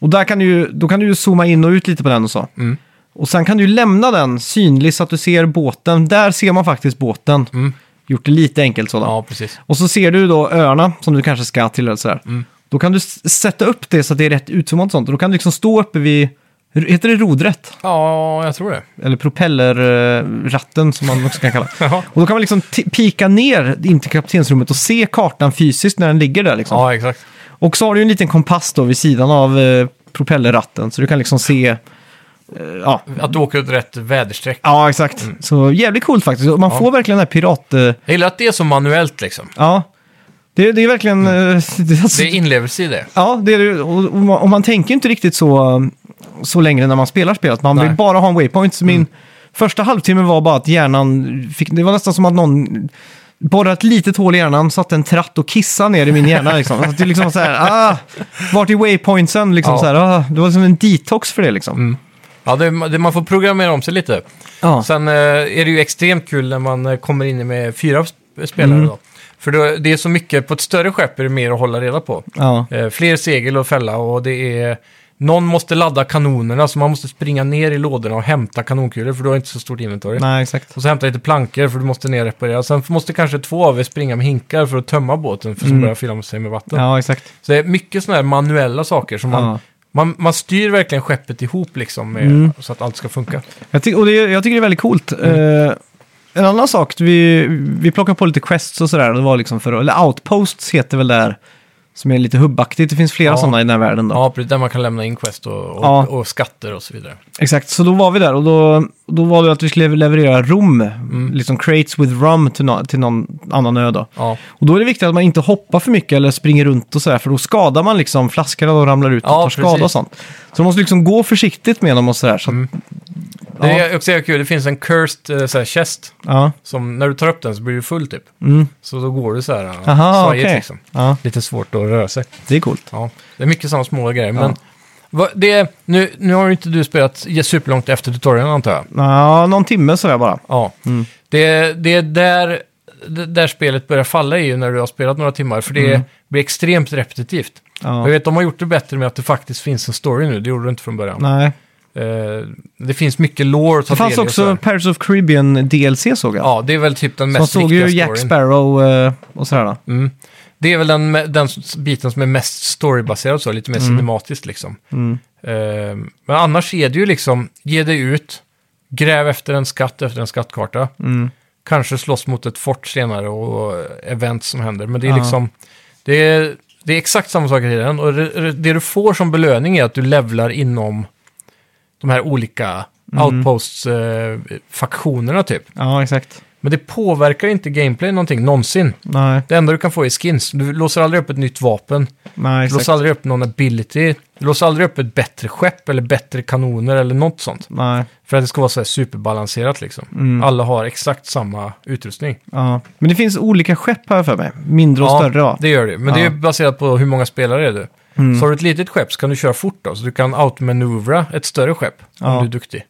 Och där kan du, ju- då kan du ju zooma in och ut lite på den och så. Mm. Och sen kan du ju lämna den synlig så att du ser båten. Där ser man faktiskt båten. Gjort det lite enkelt sådär. Mm. ja, precis. Och så ser du då öarna som du kanske ska till eller sådär. Mm. Då kan du s- sätta upp det så att det är rätt utzoomat och sånt. Och då kan du liksom stå uppe vid, heter det rodrätt? Ja, jag tror det. Eller propellerratten eh, som man också kan *laughs* kalla det. Jaha. Och då kan man liksom ti- pika ner in till kaptensrummet och se kartan fysiskt när den ligger där liksom. Ja, exakt. Och så har du en liten kompass då vid sidan av eh, propellerratten så du kan liksom se... eh, ja. Att du åker åt rätt väderstreck. ja, exakt. Så jävligt coolt faktiskt. Och man får verkligen den här pirat... Eh, Jag gillar att det är så manuellt liksom. ja. Det, det är verkligen... eh, *laughs* det är alltså- Det är inlevelse i det. Ja, det är det. Och, och, man, och man tänker inte riktigt så, um, så längre när man spelar spelet. Man Nej. Mm. vill bara ha en waypoint. Så min första halvtimme var bara att hjärnan fick... Det var nästan som att någon borrade ett litet hål i hjärnan, satte en tratt och kissade ner i min hjärna. Liksom. Så att det liksom var så här, ah, vart är waypointsen? Liksom, Ja. Mm. så här, ah, det var som en detox för det liksom. Ja, det, det, man får programmera om sig lite. Ja. Sen eh, är det ju extremt kul när man eh, kommer in med fyra sp- spelare. Mm. Då. För då, det är så mycket, på ett större skepp är det mer att hålla reda på. Ja. Eh, fler segel och fälla och det är Någon måste ladda kanonerna, så man måste springa ner i lådorna och hämta kanonkulor, för du har inte så stort inventory. Nej, exakt. Och så hämta lite plankor, för du måste ner och reparera. Sen måste kanske två av er springa med hinkar för att tömma båten, för att Mm. börja fylla sig med vatten. Ja, exakt. Så det är mycket sådana här manuella saker som man... Ja. Man, man styr verkligen skeppet ihop liksom, med, Mm. så att allt ska funka. Jag, ty- och det, jag tycker det är väldigt coolt. Mm. Eh, en annan sak, vi, vi plockade på lite quests och sådär. och Det var liksom för, eller outposts heter väl där, som är lite hubbaktigt. Det finns flera Ja. sådana i den här världen då. Ja, precis. Där man kan lämna in quest och, och, Ja. och skatter och så vidare. Exakt, så då var vi där och då, då var det att vi skulle leverera rom, Mm. liksom crates with rum till, nå- till någon annan ö då. Ja, Och då är det viktigt att man inte hoppar för mycket eller springer runt och sådär, för då skadar man liksom flaskorna och ramlar ut och Ja, tar skada precis. Mm. och sånt. Så man måste liksom gå försiktigt med dem och sådär. Så att, det ja, är också kul. Det finns en cursed eh, så här, chest ja, som när du tar upp den så blir du full typ. mm, Så då går du så här eh, Aha, svajigt okej. liksom. ja, Lite svårt att röra sig. det är coolt. Ja, det är mycket sådana små grejer. Ja. Men vad- det, nu, nu har ju inte du spelat superlångt efter tutorialen antar jag. Ja, någon timme sådär bara. Ja, Mm. det, det är där, det- där spelet börjar falla är ju när du har spelat några timmar. För det Mm. blir extremt repetitivt. Jag Ja. vet, de har gjort det bättre med att det faktiskt finns en story nu. Det gjorde det inte från början. Nej. Eh, det finns mycket lore att ta Det fanns del i och också sådär. Pirates of Caribbean DLC såg jag. Ja, det är väl typ den så man mest såg viktiga ju Jack storyn. Sparrow eh, och sådär. Då. Mm. Det är väl den, den s- biten som är mest storybaserad, så, lite mer cinematiskt liksom. Mm. Eh, men annars är det ju liksom, ge dig ut, gräv efter en skatt, efter en skattkarta. Mm. Kanske slåss mot ett fort senare och och event som händer. Men det är Ja. liksom, det är, det är exakt samma sak i den. Och det, det du får som belöning är att du levlar inom de här olika Mm. outposts-faktionerna typ. Ja, exakt. Men det påverkar inte gameplay någonting någonsin. Nej, Det enda du kan få är skins. Du låser aldrig upp ett nytt vapen. nej Du exakt. låser aldrig upp någon ability. Du låser aldrig upp ett bättre skepp eller bättre kanoner eller något sånt. Nej. För att det ska vara så här superbalanserat liksom. Mm. Alla har exakt samma utrustning. Ja. Men det finns olika skepp här för mig. Mindre och större va? det gör det. Men Ja. det är baserat på hur många spelare är du. Mm. Så har du ett litet skepp så kan du köra fort då. Så du kan outmanövra ett större skepp Ja. om du är duktig.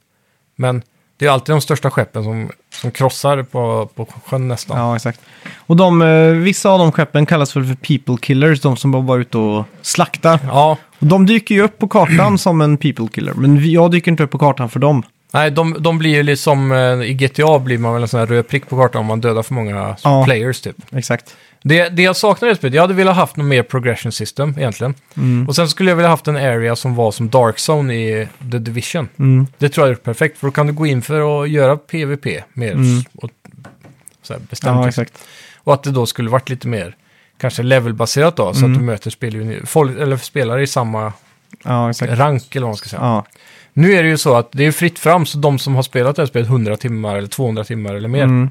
Men det är alltid de största skeppen som, som krossar på, på sjön nästan. Ja, exakt. Och de, eh, vissa av de skeppen kallas väl för people killers, de som bara var ute och slaktar. ja Och de dyker ju upp på kartan som en people killer, men vi- jag dyker inte upp på kartan för dem. Nej, de, de blir ju liksom, eh, i GTA blir man väl en sån här röd prick på kartan om man dödar för många Ja. players typ. Exakt. Det, det jag saknar i spelet, jag hade velat haft något mer progression system egentligen. Mm. Och sen skulle jag vilja haft en area som var som Dark Zone i The Division. Mm. Det tror jag är perfekt, för då kan du gå in för att göra PVP mer Mm. och, så här bestämt. Ja, liksom. exakt. Och att det då skulle varit lite mer, kanske levelbaserat då, så Mm. att du möter spelare, folk, eller spelare i samma Ja, exakt. rank eller vad man ska säga. Ja. Nu är det ju så att det är fritt fram, så de som har spelat det här spelet 100 timmar eller 200 timmar eller mer, Mm.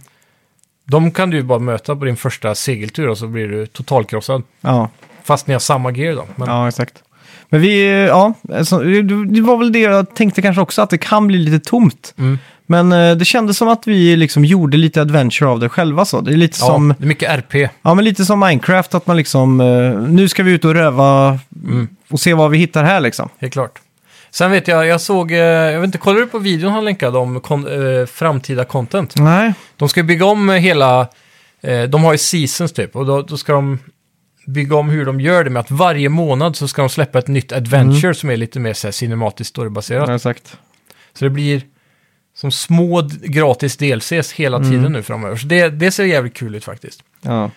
de kan du ju bara möta på din första segeltur och så blir du totalkrossad. Ja. Fast ni har samma gear då. Men, ja, exakt. Men vi, eh, ja, alltså, det det var väl det jag tänkte kanske också, att det kan bli lite tomt. Mm. Men eh, det kändes som att vi liksom gjorde lite adventure av det själva så. Det är lite ja, som det är mycket RP. Ja, men lite som Minecraft, att man liksom, eh, nu ska vi ut och röva Mm. och se vad vi hittar här liksom. Helt klart. Sen vet jag, jag såg, eh, jag vet inte, kollade du på videon han länkade om kon, eh, framtida content? Nej. De ska ju bygga om eh, hela, eh, de har ju seasons typ, och då, då ska de bygga om hur de gör det med att varje månad så ska de släppa ett nytt adventure Mm. som är lite mer så här cinematiskt storybaserat. exakt. Så det blir som små d- gratis DLCs hela tiden nu framöver. Så det, det ser jävligt kul ut faktiskt. Ja.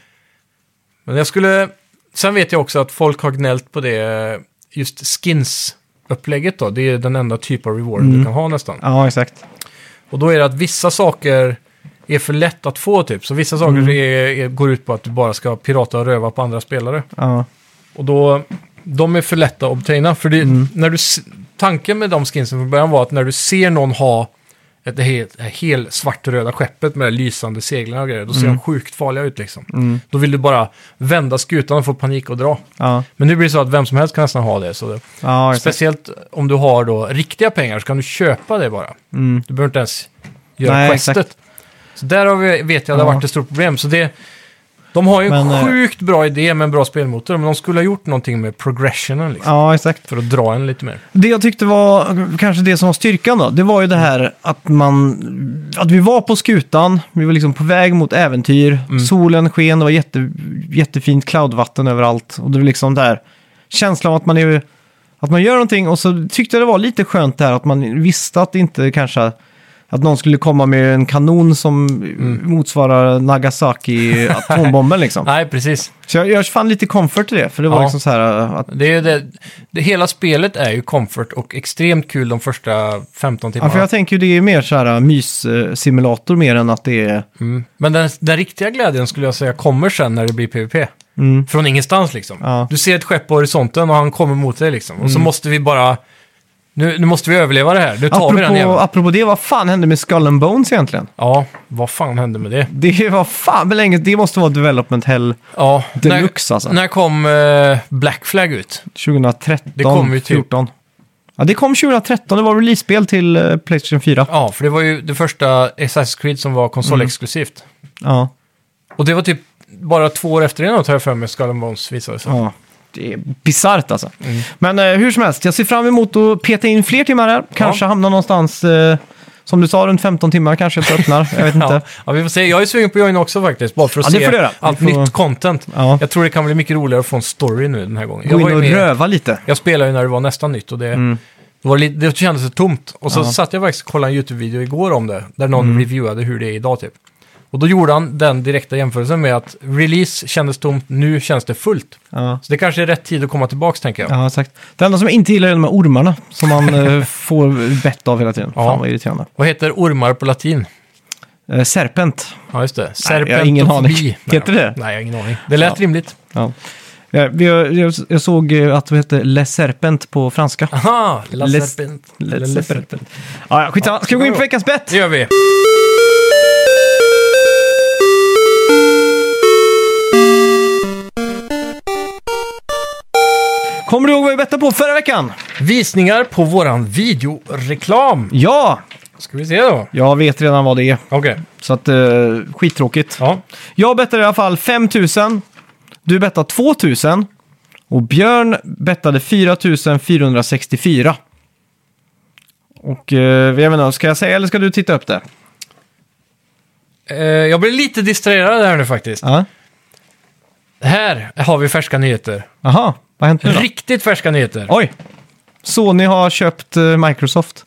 Men jag skulle... Sen vet jag också att folk har gnällt på det, just skins-upplägget då. Det är den enda typ av reward du kan ha nästan. ja, exakt. Och då är det att vissa saker är för lätt att få typ. Så vissa saker är, är, går ut på att du bara ska pirata och röva på andra spelare. Ja. Och då, de är för lätta att obtaina. För det, Mm. när du, s- tanken med de skinsen från början var att när du ser någon ha ett helt, ett helt svartröda skeppet med det lysande seglarna och grejer, då ser Mm. de sjukt farliga ut liksom. Då vill du bara vända skutan och få panik och dra. Ja, Men nu blir det så att vem som helst kan nästan ha det. Så det ja exakt. speciellt om du har då riktiga pengar så kan du köpa det bara. Mm. Du behöver inte ens göra Nej, questet. exakt. Så där har vi, vet jag det Ja. har varit ett stort problem. Så det, de har ju Men, eh, en sjukt bra idé med en bra spelmotor, men de skulle ha gjort någonting med progressionen liksom, Ja, exakt. för att dra en lite mer. Det jag tyckte var kanske det som var styrkan då, det var ju det här att man, att vi var på skutan, vi var liksom på väg mot äventyr, solen sken, det var jätte, jättefint cloudvatten överallt och det var liksom där känslan av att man är Att man gör någonting och så tyckte jag det var lite skönt där att man visste att det inte kanske... Att någon skulle komma med en kanon som motsvarar Nagasaki-atombomben liksom. *laughs* Nej, precis. Så jag, jag fann lite comfort i det, för det var Ja. liksom så här äh, att... Det är ju det, det, hela spelet är ju comfort och extremt kul de första 15 Ja, timmarna. för jag tänker ju det är mer så här äh, mys-simulator mer än att det är... mm. Men den, den riktiga glädjen skulle jag säga kommer sen när det blir PVP. Mm. Från ingenstans liksom. Ja. Mm. Du ser ett skepp på horisonten och han kommer mot dig liksom. Och så måste vi bara... Nu, nu måste vi överleva det här. Nu tar vi den Apropå, jäveln. apropå det, vad fan hände med Skull and Bones egentligen? Ja, vad fan hände med det? Det var fan men länge, det måste vara Development Hell Ja, Deluxe alltså. när, när kom eh, Black Flag ut? 2013, Det kom ju typ- 14. Ja, det kom 2013, det var release-spel till eh, Playstation 4. Ja, för det var ju det första Assassin's Creed som var konsolexklusivt. Ja. Och det var typ bara två år efter det något har jag för mig Skull and Bones visade sig. ja. Det är bisarrt alltså. Mm. Men eh, hur som helst, jag ser fram emot att peta in fler timmar här. Kanske hamna någonstans, eh, som du sa, runt 15 timmar kanske jag öppnar. Jag vet *laughs* Ja. inte. ja, vi får se. Jag är sugen på att joina också faktiskt, bara för att Ja, det se får du göra. allt Vi får- nytt content. Ja. Jag tror det kan bli mycket roligare att få en story nu den här gången. Jag Gå var in ju och med- röva lite. Jag spelade ju när det var nästan nytt och det, det, var lite, det kändes så tomt. Och så Mm. Ja. Mm. satt jag faktiskt och kollade en YouTube-video igår om det, där någon reviewade hur det är idag typ. Och då gjorde han den direkta jämförelsen med att release kändes tomt, nu känns det fullt. Ja. Så det kanske är rätt tid att komma tillbaka tänker jag. Ja, exakt. Det enda som jag inte gillar är de här ormarna som man *laughs* eh, får bett av hela tiden. Ja. Fan vad irriterande. Vad heter ormar på latin? Eh, serpent. Ja, just det. jag har Serpentofobi. ingen aning. Nej, Heter det? Nej, jag har ingen aning. Det lät Ja. rimligt. Ja. Eh, vi- Jag, jag, jag såg eh, att det hette Le Serpent på franska. Aha! La Les- serpent. Le La Serpent. Ja, ja, skitsamma. Ska vi gå in på veckans bett? Det gör vi. Kommer du ihåg vad vi bettade på förra veckan? Visningar på våran videoreklam. Ja! Ska vi se då? Jag vet redan vad det är, Okej. så att, eh, skittråkigt. Ja. Jag bettade i alla fall 5 000. Du bettade 2 000. Och Björn bettade 4 464. Och eh, jag vet inte, ska jag säga eller ska du titta upp det? Eh, jag blir lite distraherad här nu faktiskt. Ja. Här har vi färska nyheter. Aha, vad har hänt nu då? Riktigt färska nyheter. Oj! Sony har köpt eh, Microsoft.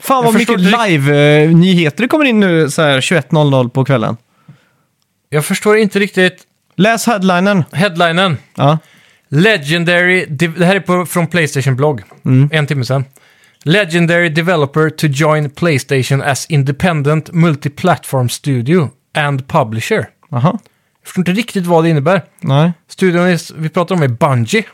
Fan vad Jag förstår mycket direkt- live-nyheter det kommer in nu så här 21.00 på kvällen. Jag förstår inte riktigt Läs headlinen. headlinen. Ja. Legendary... de- Det här är på, från Playstation-blogg. En timme sedan. Legendary developer to join Playstation as independent multiplatform studio and publisher. Jag Aha. förstår inte riktigt vad det innebär. Nej. Studion är, vi pratar om är Bungie.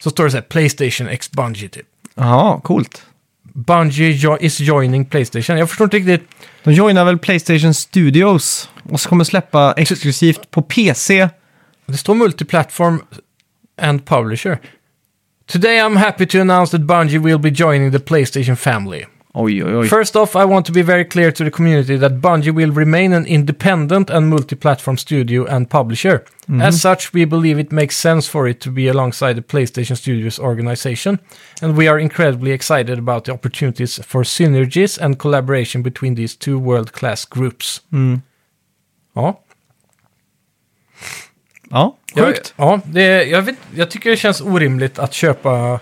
Så står det så här, Playstation X Bungie typ. Jaha, coolt. Bungie jo- is joining Playstation. Jag förstår inte riktigt. De joinar väl Playstation Studios och så kommer släppa exklusivt på PC. Det står multiplatform and publisher. Today I'm happy to announce that Bungie will be joining the PlayStation family. Oj, oj, oj. First off, I want to be very clear to the community that Bungie will remain an independent and multi-platform studio and publisher. Mm-hmm. As such, we believe it makes sense for it to be alongside the PlayStation Studios organization, and we are incredibly excited about the opportunities for synergies and collaboration between these two world-class groups. Mm. Ja, Ja, jag, sjukt. ja det, är- jag, vet, jag tycker det känns orimligt att köpa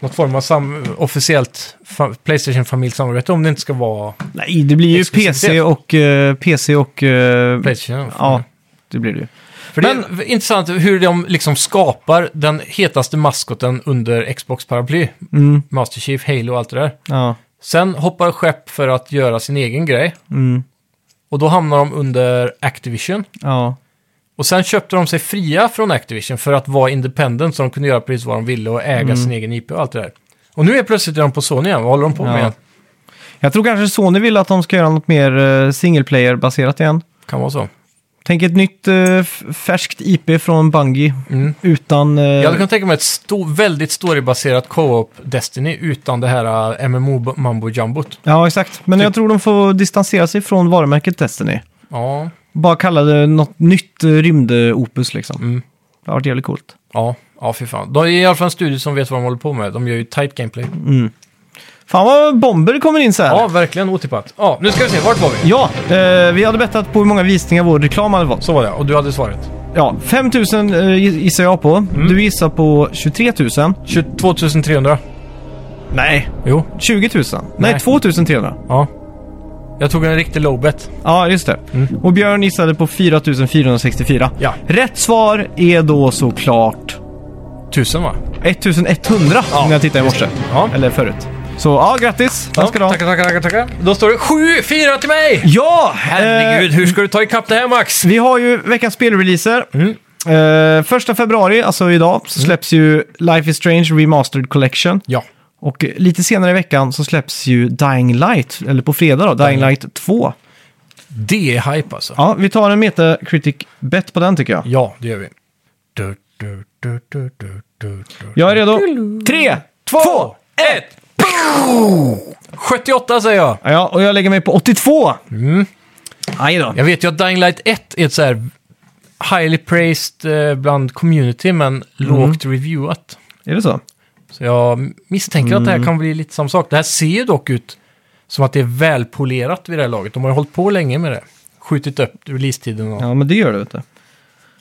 något form av sam, officiellt fa- Playstation-familjsamarbete om det inte ska vara Nej, det blir ju Exklusivitet. PC och... eh, PC och eh, Playstation. ja, det blir det ju. För det är intressant hur de liksom skapar den hetaste maskoten under Xbox-paraply. Mm, Master Chief, Halo och allt det där. ja. Sen hoppar skepp för att göra sin egen grej. Mm, Och då hamnar de under Activision. ja. Och sen köpte de sig fria från Activision för att vara independent så de kunde göra precis vad de ville och äga Mm. sin egen IP och allt det där. Och nu är plötsligt de på Sony igen. Vad håller de på Ja. med? Jag tror kanske Sony vill att de ska göra något mer eh, single player-baserat igen. Kan vara så. Tänk ett nytt eh, f- färskt IP från Bungie Mm. utan... eh, Jag hade kunnat tänka mig ett sto- väldigt storybaserat co-op Destiny utan det här eh, MMO-mambo-jumbot. Ja, exakt. Men jag tror de får distansera sig från varumärket Destiny. Ja, Bara kalla det något nytt eh, rymdopus liksom. Mm. Det har varit jävligt coolt. Ja, ja fy fan. De är i alla fall en studio som vet vad de håller på med. De gör ju tight gameplay. Fan vad bomber kommer in så här. Ja, verkligen otippat. Ja, nu ska vi se. Vart var vi? Ja, eh, vi hade bettat på hur många visningar vår reklam hade fått. Så var det, och du hade svaret. Ja, 5 000 eh, gissar jag på. Mm. Du gissar på 23 000. 22 300. Nej. Jo, 20 000. Nej, Nej. 2 300. ja. Jag tog en riktig low bet. Ja, just det. Och Björn gissade på 4 464. Mm. Ja. Rätt svar är då såklart 1000 va? 1100 när jag tittade i morse. Ja. Eller förut. Så ja, grattis. Tack ska du ha. Tackar, tackar, tackar, tackar. Då står det 7-4 till mig! Ja! Herregud, Eh, hur ska du ta ikapp det här Max? vi har ju veckans spelreleaser. Mm. Eh, första februari, alltså idag, så släpps ju Life is Strange Remastered Collection. Ja. Och eh, lite senare i veckan så släpps ju Dying Light, eller på fredag då, Dying Light 2. Det är hype alltså. Ja, vi tar en Metacritic bet på den tycker jag. Ja, det gör vi. Du, du, du, du, du, du, du. Jag är redo. Tre, två! Två, ett, boom! 78 säger jag. Ja, och jag lägger mig på 82. Mm. Aj då. Jag vet ju att Dying Light 1 är ett så här highly praised eh, bland community, men Mm. lågt reviewat. Är det så? Så jag misstänker att det Mm. här kan bli lite samma sak. Det här ser ju dock ut som att det är välpolerat vid det här laget. De har ju hållit på länge med det. Skjutit upp releasetiden och... Ja, men det gör det, vet du.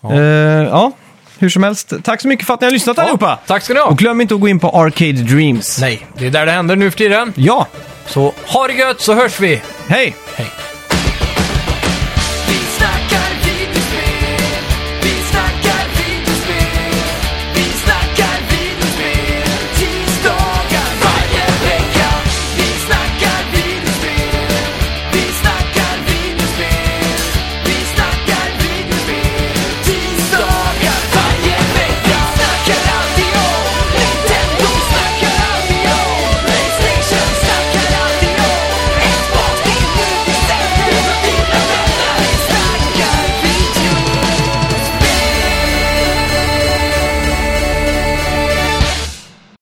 Ja. Ja. ja, hur som helst. Tack så mycket för att ni har lyssnat allihopa! Tack ska ni ha! Och glöm inte att gå in på Arcade Dreams. Nej, det är där det händer nu för tiden. Ja, Så ha det gött så hörs vi! hej!